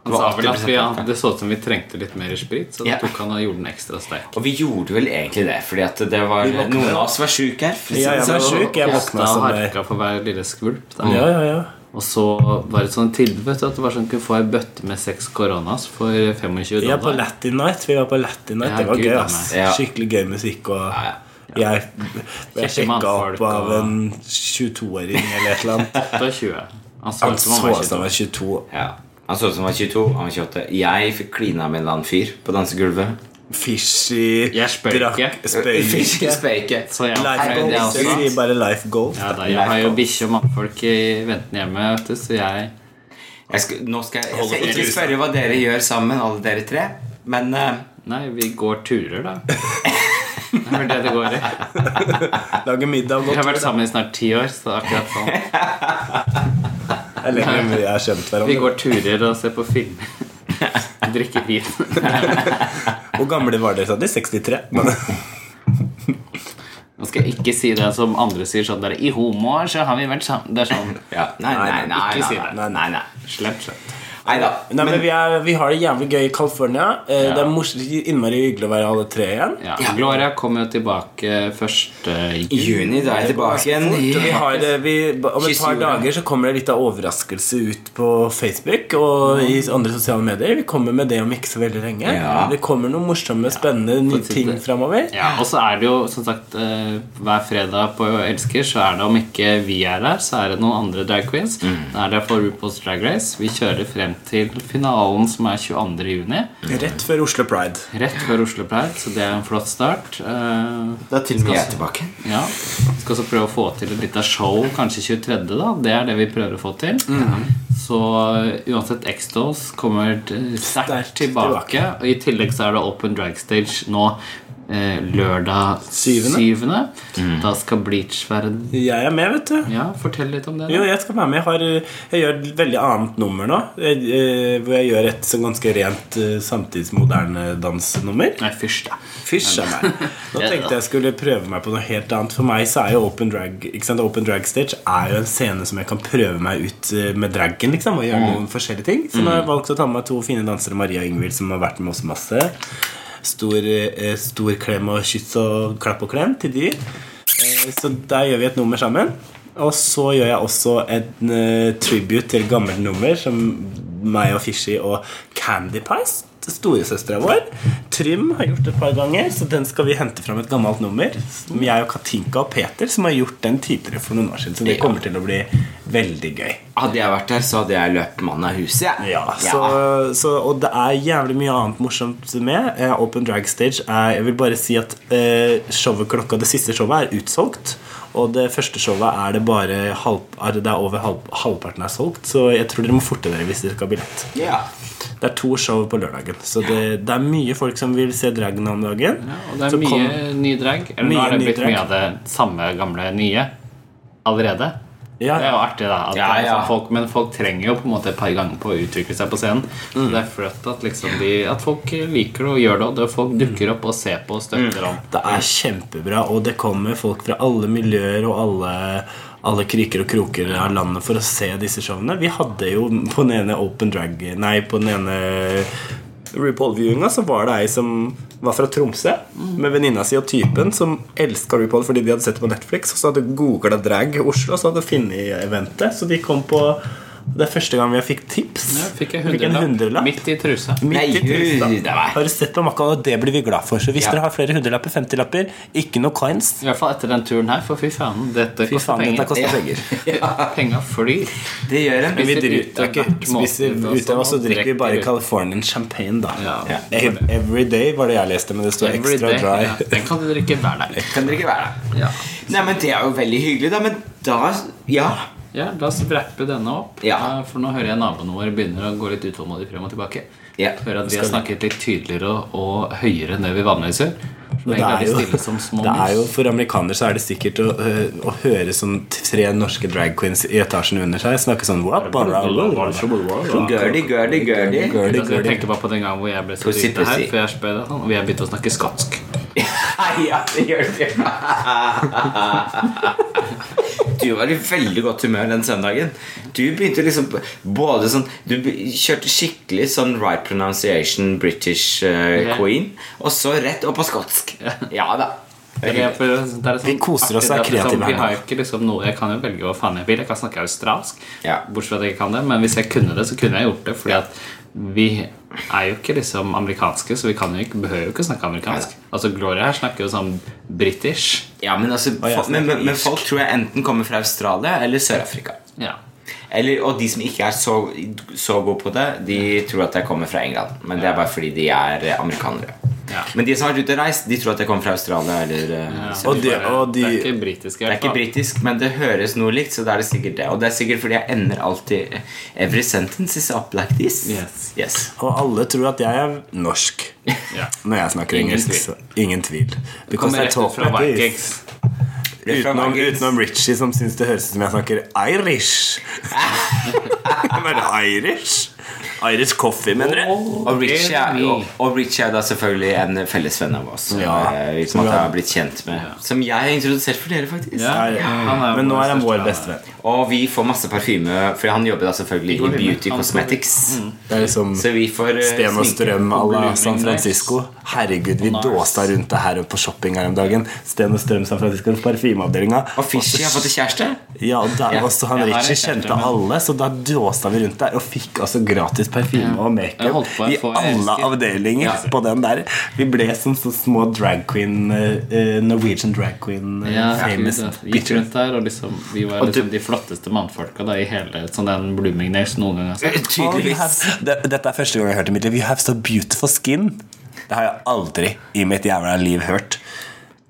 S1: Han
S2: Det
S1: sa
S2: var
S1: vel at
S2: 80%
S1: vi,
S2: vodka.
S1: det så ut som vi trengte litt mer sprit, så da
S2: Ja.
S1: tok han og gjorde den ekstra sterk.
S2: Og vi gjorde vel egentlig det, fordi at det var
S3: våkna.
S2: Noen av oss var sjuke her. for å si
S3: Ja,
S2: det
S3: jeg
S2: sånn.
S3: var sjuk. Jeg våkna
S1: Hosta og
S3: som det.
S1: harka for hver lille skvulp. Da.
S3: Ja, ja, ja.
S1: Og så var det et sånt tilbud vet du, at det var sånn kunne få ei bøtte med seks koronas for 25
S3: Ja, på
S1: dollar.
S3: Latin Night. Vi var på Latin Night.
S1: Ja,
S3: Det var
S1: gud,
S3: gøy,
S1: da,
S3: ass.
S2: nei. Ja.
S3: Skikkelig gøy musikk. Og
S2: ja.
S3: jeg, jeg
S1: Kjente
S3: sjekka
S1: mannfolk,
S3: opp av
S1: og-
S3: en 22-åring eller et eller annet.
S1: 28. Han så
S3: Han
S1: ut som han
S3: så sånn.
S1: var
S3: ut som
S1: 22.
S3: han var 22.
S2: Ja. Han så ut som han var 22, han var 28. Jeg fikk klina med en eller annen fyr på dansegulvet.
S3: Fishy
S1: Jeg spøyker.
S3: drakk- spøyker.
S2: Fiske, speike.
S1: Så jeg,
S3: Life goals.
S2: Herregud, det er
S3: Jeg
S2: også-
S3: sier bare life goals.
S1: ja, da, jeg har jo bikkje og mannfolk i ventende hjemme, vet du, så jeg
S2: Jeg skal, nå skal jeg, jeg
S3: Holder
S2: skal
S3: på
S2: ikke
S3: tusen.
S2: spørre hva dere gjør sammen, alle dere tre. Men eh,
S1: Nei, vi går turer, da. Det er vel det det går i.
S3: Lage middag
S1: Vi
S3: og
S1: har vært sammen i snart ti år, så det er akkurat sånn.
S3: Det er lenge vi har skjønt
S1: Vi
S3: hverandre.
S1: går turer og ser på film. Drikker vin.
S3: Hvor gamle var dere? sa de? 63? Men,
S1: Nå skal jeg ikke si det som andre sier sånn der I homoer så har vi vært sammen. Det er sånn
S2: ja. Nei, nei, nei.
S1: ikke
S2: nei,
S1: si
S2: nei,
S1: det.
S2: nei, nei, nei.
S1: slemt, slemt.
S2: Neida.
S3: nei, men vi, er, vi har det jævlig gøy i California. Eh,
S1: Ja.
S3: Det er mors- innmari hyggelig å være alle tre igjen.
S1: Ja. Gloria kom jo tilbake først eh, i
S2: I juni da er jeg tilbake igjen.
S3: Fort, og Vi
S2: i-
S3: har, det- vi, om et
S2: Kyss
S3: par
S2: jorda.
S3: dager så kommer det litt av overraskelse ut på Facebook og i andre sosiale medier. Vi kommer med det om ikke så veldig lenge.
S2: Ja.
S3: Det kommer noen morsomme, spennende nye
S1: sitte.
S3: ting framover.
S1: ja, Og så er det jo som sagt eh, hver fredag på Elsker så er det om ikke vi er der, så er det noen andre drag queens. Da er det for RuPaul's Drag Race. Vi kjører frem til finalen som er 22. juni.
S3: Rett før Oslo Pride.
S1: Rett før Oslo Pride, så det er en flott start. Eh,
S2: Da er til og med jeg tilbake.
S1: Ja. Vi skal også prøve å få til et lite show, kanskje 23., da. Det er det vi prøver å få til.
S3: Mhm.
S1: Så uh, uansett, X-Dolls kommer t- sterkt
S3: Sterkt
S1: tilbake. Og i tillegg så er det Open Drag Stage nå. eh, eh, lørdag
S3: Syvende.
S1: syvende. Da skal Bleach være
S3: Jeg er med, vet du.
S1: Ja, fortell litt om det. da.
S3: Jo, jeg skal være med. Jeg, har, eh, jeg gjør et veldig annet nummer nå. Jeg, eh, hvor jeg gjør et sånn ganske rent eh, samtidsmoderne dansnummer.
S1: Nei, fyrst, da.
S3: Fysj a meg. Nå tenkte jeg skulle prøve meg på noe helt annet. For meg så er jo open drag ikke sant? Open drag stage er jo en scene som jeg kan prøve meg ut eh, med dragen. liksom Og gjøre noen forskjellige ting Så nå har jeg valgt å ta med meg to fine dansere, Maria og Ingvild, som har vært med oss masse. Stor, eh, stor klem og kyss og klapp og klem til de. Eh, Så der gjør vi et nummer sammen. Og så gjør jeg også en eh, tribute til gammelt nummer som meg og Fishy og Candy Pies, storesøstera vår. Trym har gjort det et par ganger, så den skal vi hente fram et gammelt nummer. Som jeg og Katinka og Peter som har gjort den tidligere for noen år siden. Så det
S2: Ja.
S3: kommer til å bli veldig gøy.
S2: Hadde jeg vært der, så hadde jeg løpt mannen av huset. jeg.
S3: Ja, så, så, og det er jævlig mye annet morsomt med. Eh, Open Drag Stage er Jeg vil bare si at eh, showet klokka det siste showet er utsolgt. Og det første showet er det bare halv, er det det er over halv, halvparten er solgt. Så jeg tror dere må forte dere hvis dere skal ha billett.
S2: Ja.
S3: Det er to show på lørdagen, så det, det er mye folk som vil se dragen om dagen.
S1: Ja, og det er
S3: Så
S1: mye
S3: kom-
S1: ny drag. Eller nå
S3: Mye
S1: har det
S3: ny
S1: blitt
S3: drag.
S1: mye av det samme gamle nye allerede.
S3: Ja.
S1: Det er jo artig, da. At
S2: Ja,
S1: det er
S2: ja.
S1: sånn folk, men folk trenger jo på en måte et par ganger på å utvikle seg på scenen. Så
S2: Mm.
S1: det er flott at, liksom de, at folk liker det og gjør det, og det folk dukker opp og ser på og
S2: Mm.
S1: støtter om.
S3: Det er kjempebra, og det kommer folk fra alle miljøer og alle, alle kriker og kroker av landet for å se disse showene. Vi hadde jo på den ene Open Drag Nei, på den ene RuPaul-viewinga så var det ei som var fra Tromsø med venninna si og typen som elska RuPaul fordi de hadde sett det på Netflix, og så hadde googla drag i Oslo, og så hadde funnet eventet, så de kom på det er første gang jeg fikk tips.
S1: Ja, fikk jeg
S3: en
S1: hundrelapp
S3: hundrelapp.
S1: midt i trusa.
S2: Nei,
S3: Midt i trusa.
S2: hu- det var-
S3: Har du sett på makka, og det blir vi glad for. Så hvis
S2: Ja.
S3: dere har flere hundrelapper, 50-lapper, ikke noe coins.
S1: I hvert fall etter den turen her, for fy faen, dette
S3: Fy
S1: koster
S3: faen, dette
S1: penger.
S3: koster
S2: Ja.
S3: penger.
S1: Penga flyr.
S2: Det gjør en.
S3: Men vi
S1: Spiser
S3: driter
S1: ute
S3: ikke
S1: hvert måltid,
S3: spiser
S1: og
S3: ute, og så
S1: sånn,
S3: drikker vi bare
S1: drikker.
S3: Californian champagne, da.
S1: Ja,
S3: Ja.
S1: det var det.
S3: Every day var det jeg leste, men det står
S1: Every
S3: extra
S1: day. Ja,
S3: dry.
S1: den kan du drikke hver dag.
S2: Kan dere ikke være der?
S1: Ja.
S2: Nei, men det er jo veldig hyggelig, da. Men da Ja.
S1: Ja, La oss wrappe denne opp.
S2: Ja.
S1: Eh, For nå hører jeg naboene våre begynner å gå litt utålmodig frem og tilbake.
S2: Ja.
S1: Hører at vi har snakket litt tydeligere og, og høyere enn det vi vanligvis gjør. Så
S3: Det er,
S1: egentlig er vi stille som
S3: jo,
S1: små
S3: det er jo
S1: mus.
S3: For amerikaner så er det sikkert å, øh, å høre sånn tre norske drag queens i etasjen under seg snakke sånn wap, wap, wap, wap, wap.
S2: Girdy, girdy, girdy.
S3: Girly,
S1: Altså, jeg
S3: girly.
S1: tenkte bare på den gangen hvor jeg ble så
S2: Pussy,
S1: lite her,
S2: pussy.
S1: for jeg spør deg sånn, og vi har begynt å snakke skotsk.
S2: Ja, det gjør det. Du var i veldig godt humør den søndagen. Du begynte liksom både sånn Du be- kjørte skikkelig sånn right pronunciation British eh,
S1: Ja.
S2: queen, og så rett opp på skotsk. Ja da.
S1: Det er- for det er sånn
S3: Vi koser oss og er
S1: artig, det at
S3: kreative
S1: Liksom, vi
S3: her nå.
S1: har jo ikke liksom noe, jeg kan jo velge hva faen jeg vil. Jeg kan snakke australsk,
S2: Ja.
S1: bortsett fra at jeg ikke kan det. Men hvis jeg kunne det, så kunne jeg gjort det. Fordi at vi er jo ikke liksom amerikanske, så vi kan jo ikke, behøver jo ikke snakke amerikansk. Altså Gloria her snakker jo sånn british.
S2: Ja, men, altså,
S3: jeg
S2: folk, men, men,
S3: snakker
S2: men folk tror jeg enten kommer fra Australia eller Sør-Afrika.
S1: Ja.
S2: Eller, og de som ikke er så, så gode på det, de tror at jeg kommer fra England. Men det er bare fordi de er eh, amerikanere.
S1: Ja.
S2: Men de som har vært ute og reist, de tror at jeg kommer fra Australia. Eller, eh,
S1: Ja,
S2: så-
S3: Og de- og de-
S1: det er ikke britisk i
S2: Det er
S1: hvert
S2: ikke
S1: fall.
S2: britisk, men det høres noe likt, så da er det sikkert det. Og det er sikkert fordi jeg ender alltid eh, Every sentence is up like this.
S1: Yes.
S2: Yes.
S3: Og alle tror at jeg er norsk
S1: Ja.
S3: når jeg snakker
S1: Ingen
S3: engelsk.
S1: tvil.
S3: Så ingen tvil. Because
S1: Kommer rett
S3: I
S1: ut
S3: talk
S1: fra
S3: like this.
S1: Vikings.
S2: Det er fra
S3: Utenom,
S2: Norge.
S3: utenom Richie, som syns det høres ut som jeg snakker Irish. Hva er det Irish? Irish coffee, mener du?
S2: Og Richie er, og, og Richie er da selvfølgelig en fellesvenn av oss.
S3: Ja.
S2: eh, Som at jeg har blitt kjent med
S1: Ja.
S2: Som jeg har introdusert for dere, faktisk.
S1: Ja, han er
S3: Men nå er han
S1: største
S3: vår
S1: venn.
S3: bestevenn.
S2: Og vi får masse parfyme, for han jobber da selvfølgelig i Beauty Cosmetics.
S3: Det er liksom
S2: Så vi får eh,
S3: Sten og
S2: sminke.
S3: Strøm à la San
S1: Blooming
S3: Francisco. Herregud, vi
S1: Nice.
S3: dåsa rundt det her på shopping her om dagen. Sten og Strøm San Francisco, parfymeavdelinga.
S2: Og Fishy har fått kjæreste.
S3: Ja, og der
S2: Ja,
S3: også han
S1: jeg har
S3: Richie
S1: en kjæreste,
S3: kjente
S1: men-
S3: alle, så da dåsa vi rundt der og fikk altså gratis parfyme og
S1: Jeg
S3: makeup
S1: holdt på å
S3: i
S1: få
S3: alle
S1: elsket.
S3: avdelinger
S1: Ja.
S3: på den der. Vi ble som så små drag queen eh, eh, Norwegian drag queen eh,
S1: Ja,
S3: famous
S1: gud, ja. gikk
S3: bitches.
S1: rundt der, og liksom, vi var liksom de flotteste mannfolka da, i hele sånn den Blooming Nails noen gang. Altså.
S3: Oh, you
S2: Eh, Tydeligvis.
S3: have- det- Dette er første gang jeg har hørt i mitt liv. You have so beautiful skin. Det har jeg aldri i mitt jævla liv hørt.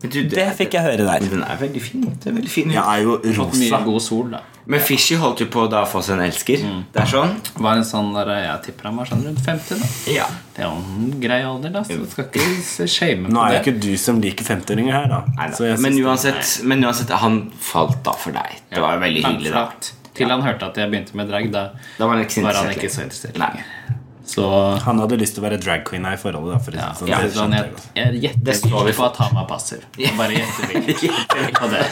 S2: Men du,
S3: Det fikk jeg høre der.
S2: Den er veldig fin. Det er veldig fin.
S3: Jeg er jo
S1: Fått mye
S3: rosa.
S1: god sol, da.
S2: Men Fishy holdt jo på da å få seg en elsker.
S3: Mm.
S2: Det er sånn.
S1: Var en sånn der, Jeg tipper han var sånn rundt 50, da.
S2: Ja.
S1: Det er jo en grei alder, da, så du skal ikke se- shame
S3: Nå
S1: på
S3: er det
S1: det.
S3: ikke du som liker 50-åringer her, da.
S2: Neida.
S3: Så jeg
S2: men,
S3: synes-
S2: uansett, men uansett, han falt da for deg. Det var jo veldig
S1: Men
S2: hyggelig, da.
S1: flott. Til han hørte at jeg begynte med drag, da
S2: Da var han ikke så
S1: var han
S2: interessert
S1: ikke så
S2: lenger.
S1: interessert
S2: Nei.
S1: lenger. Så
S3: han hadde lyst til å være drag queen her i forholdet. Da, for å
S1: ja,
S3: si det sånn.
S1: ja,
S3: Det
S1: sånn,
S3: skjønte jeg
S1: jeg,
S3: godt.
S1: jeg
S2: Det står vi
S1: gjetter på at han var passiv. Jeg Bare gjetter på det.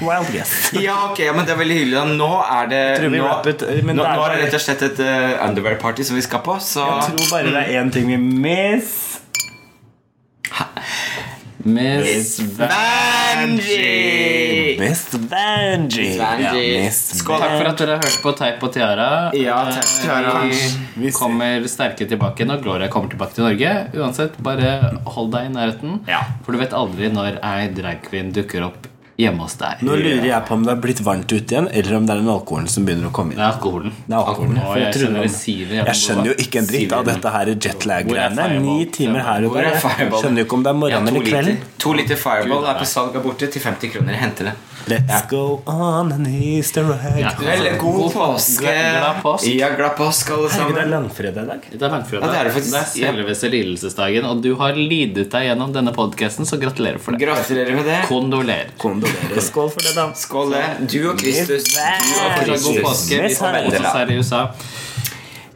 S3: Wild guess.
S2: Ja, ok, men det er veldig hyggelig. da. Nå er det
S3: tror vi
S2: nå,
S3: wrap it, men
S2: nå,
S3: det er
S2: nå er det
S3: bare-
S2: rett og slett et eh, underwear-party som vi skal på, så
S3: Jeg tror bare det er én ting vi miss.
S1: Miss Vang.
S2: Angie!
S3: Miss Vanji. Ja, Miss
S2: Skål.
S1: Takk for at dere hørte på Teip og Tiara.
S2: Ja, takk, Tiara.
S1: Eh, Vi kommer sterke tilbake når Gloria kommer tilbake til Norge. Uansett, bare hold deg i nærheten,
S2: Ja.
S1: for du vet aldri når ei dragqueen dukker opp hjemme hos deg.
S3: Nå lurer jeg på om det er blitt varmt ute igjen, eller om det er den alkoholen som begynner å komme
S1: Det
S3: inn.
S1: er alkoholen.
S3: Det er alkoholen,
S1: Å,
S3: for jeg
S1: jeg,
S3: trodde
S1: skjønner
S3: det-
S1: det siver.
S3: Jeg skjønner jo ikke en dritt av dette her
S1: Hvor
S3: jetlag-greiene.
S1: er fireball?
S3: Ni timer her og der.
S2: Hvor er
S3: Jeg
S2: fireball?
S3: skjønner jo ikke om det er
S2: Ja,
S3: morgenen
S2: to,
S3: eller
S2: liter,
S3: kvelden.
S2: to liter Fireball
S1: Gud,
S2: er på salg der borte til 50 kroner. Hente det.
S3: Let's go on an Easter egg.
S1: Ja.
S2: Vel, god påske!
S1: Glad påsk.
S2: Ja, glad påsk, alle
S3: Herregud, det er
S2: sammen.
S3: langfredag i dag.
S1: Det er langfredag.
S2: Ja, det er det faktisk.
S1: Det er selveste lidelsesdagen, og du har lidet deg gjennom denne podkasten, så gratulerer for det.
S2: Gratulerer med det.
S1: Kondolerer.
S3: Kondolerer. Skål for det, da.
S2: Skål, det. Du og Kristus. Du og
S1: Fortsatt God
S2: Kristus.
S1: påske. Vi
S3: Mest
S1: ses
S2: Vendela.
S1: her i USA.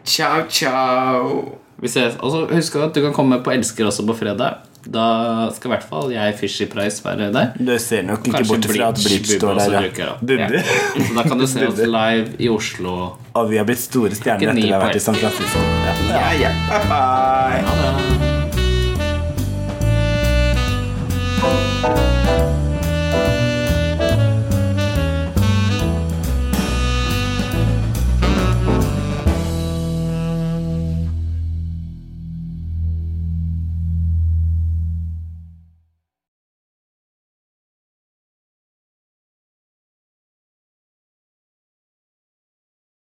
S2: Ciao, ciao.
S1: Vi ses. Og så husk at du kan komme på Elsker også på fredag. Da skal i hvert fall jeg, Fishy Price, være der.
S3: Du ser nok ikke
S1: Kanskje
S3: bort fra at
S1: Bleach,
S3: Bleach
S1: Bubba
S3: står
S1: også
S3: der.
S1: dukker
S3: ja.
S1: opp.
S3: Bubbe.
S1: Så da kan du se oss live i Oslo.
S3: Og vi har blitt store stjerner
S1: Ikke
S3: etter
S1: ni
S3: vi har
S1: poeng.
S3: vært i San Francisco. Ja.
S2: Ja, ja. Bye, bye.
S1: Ha det.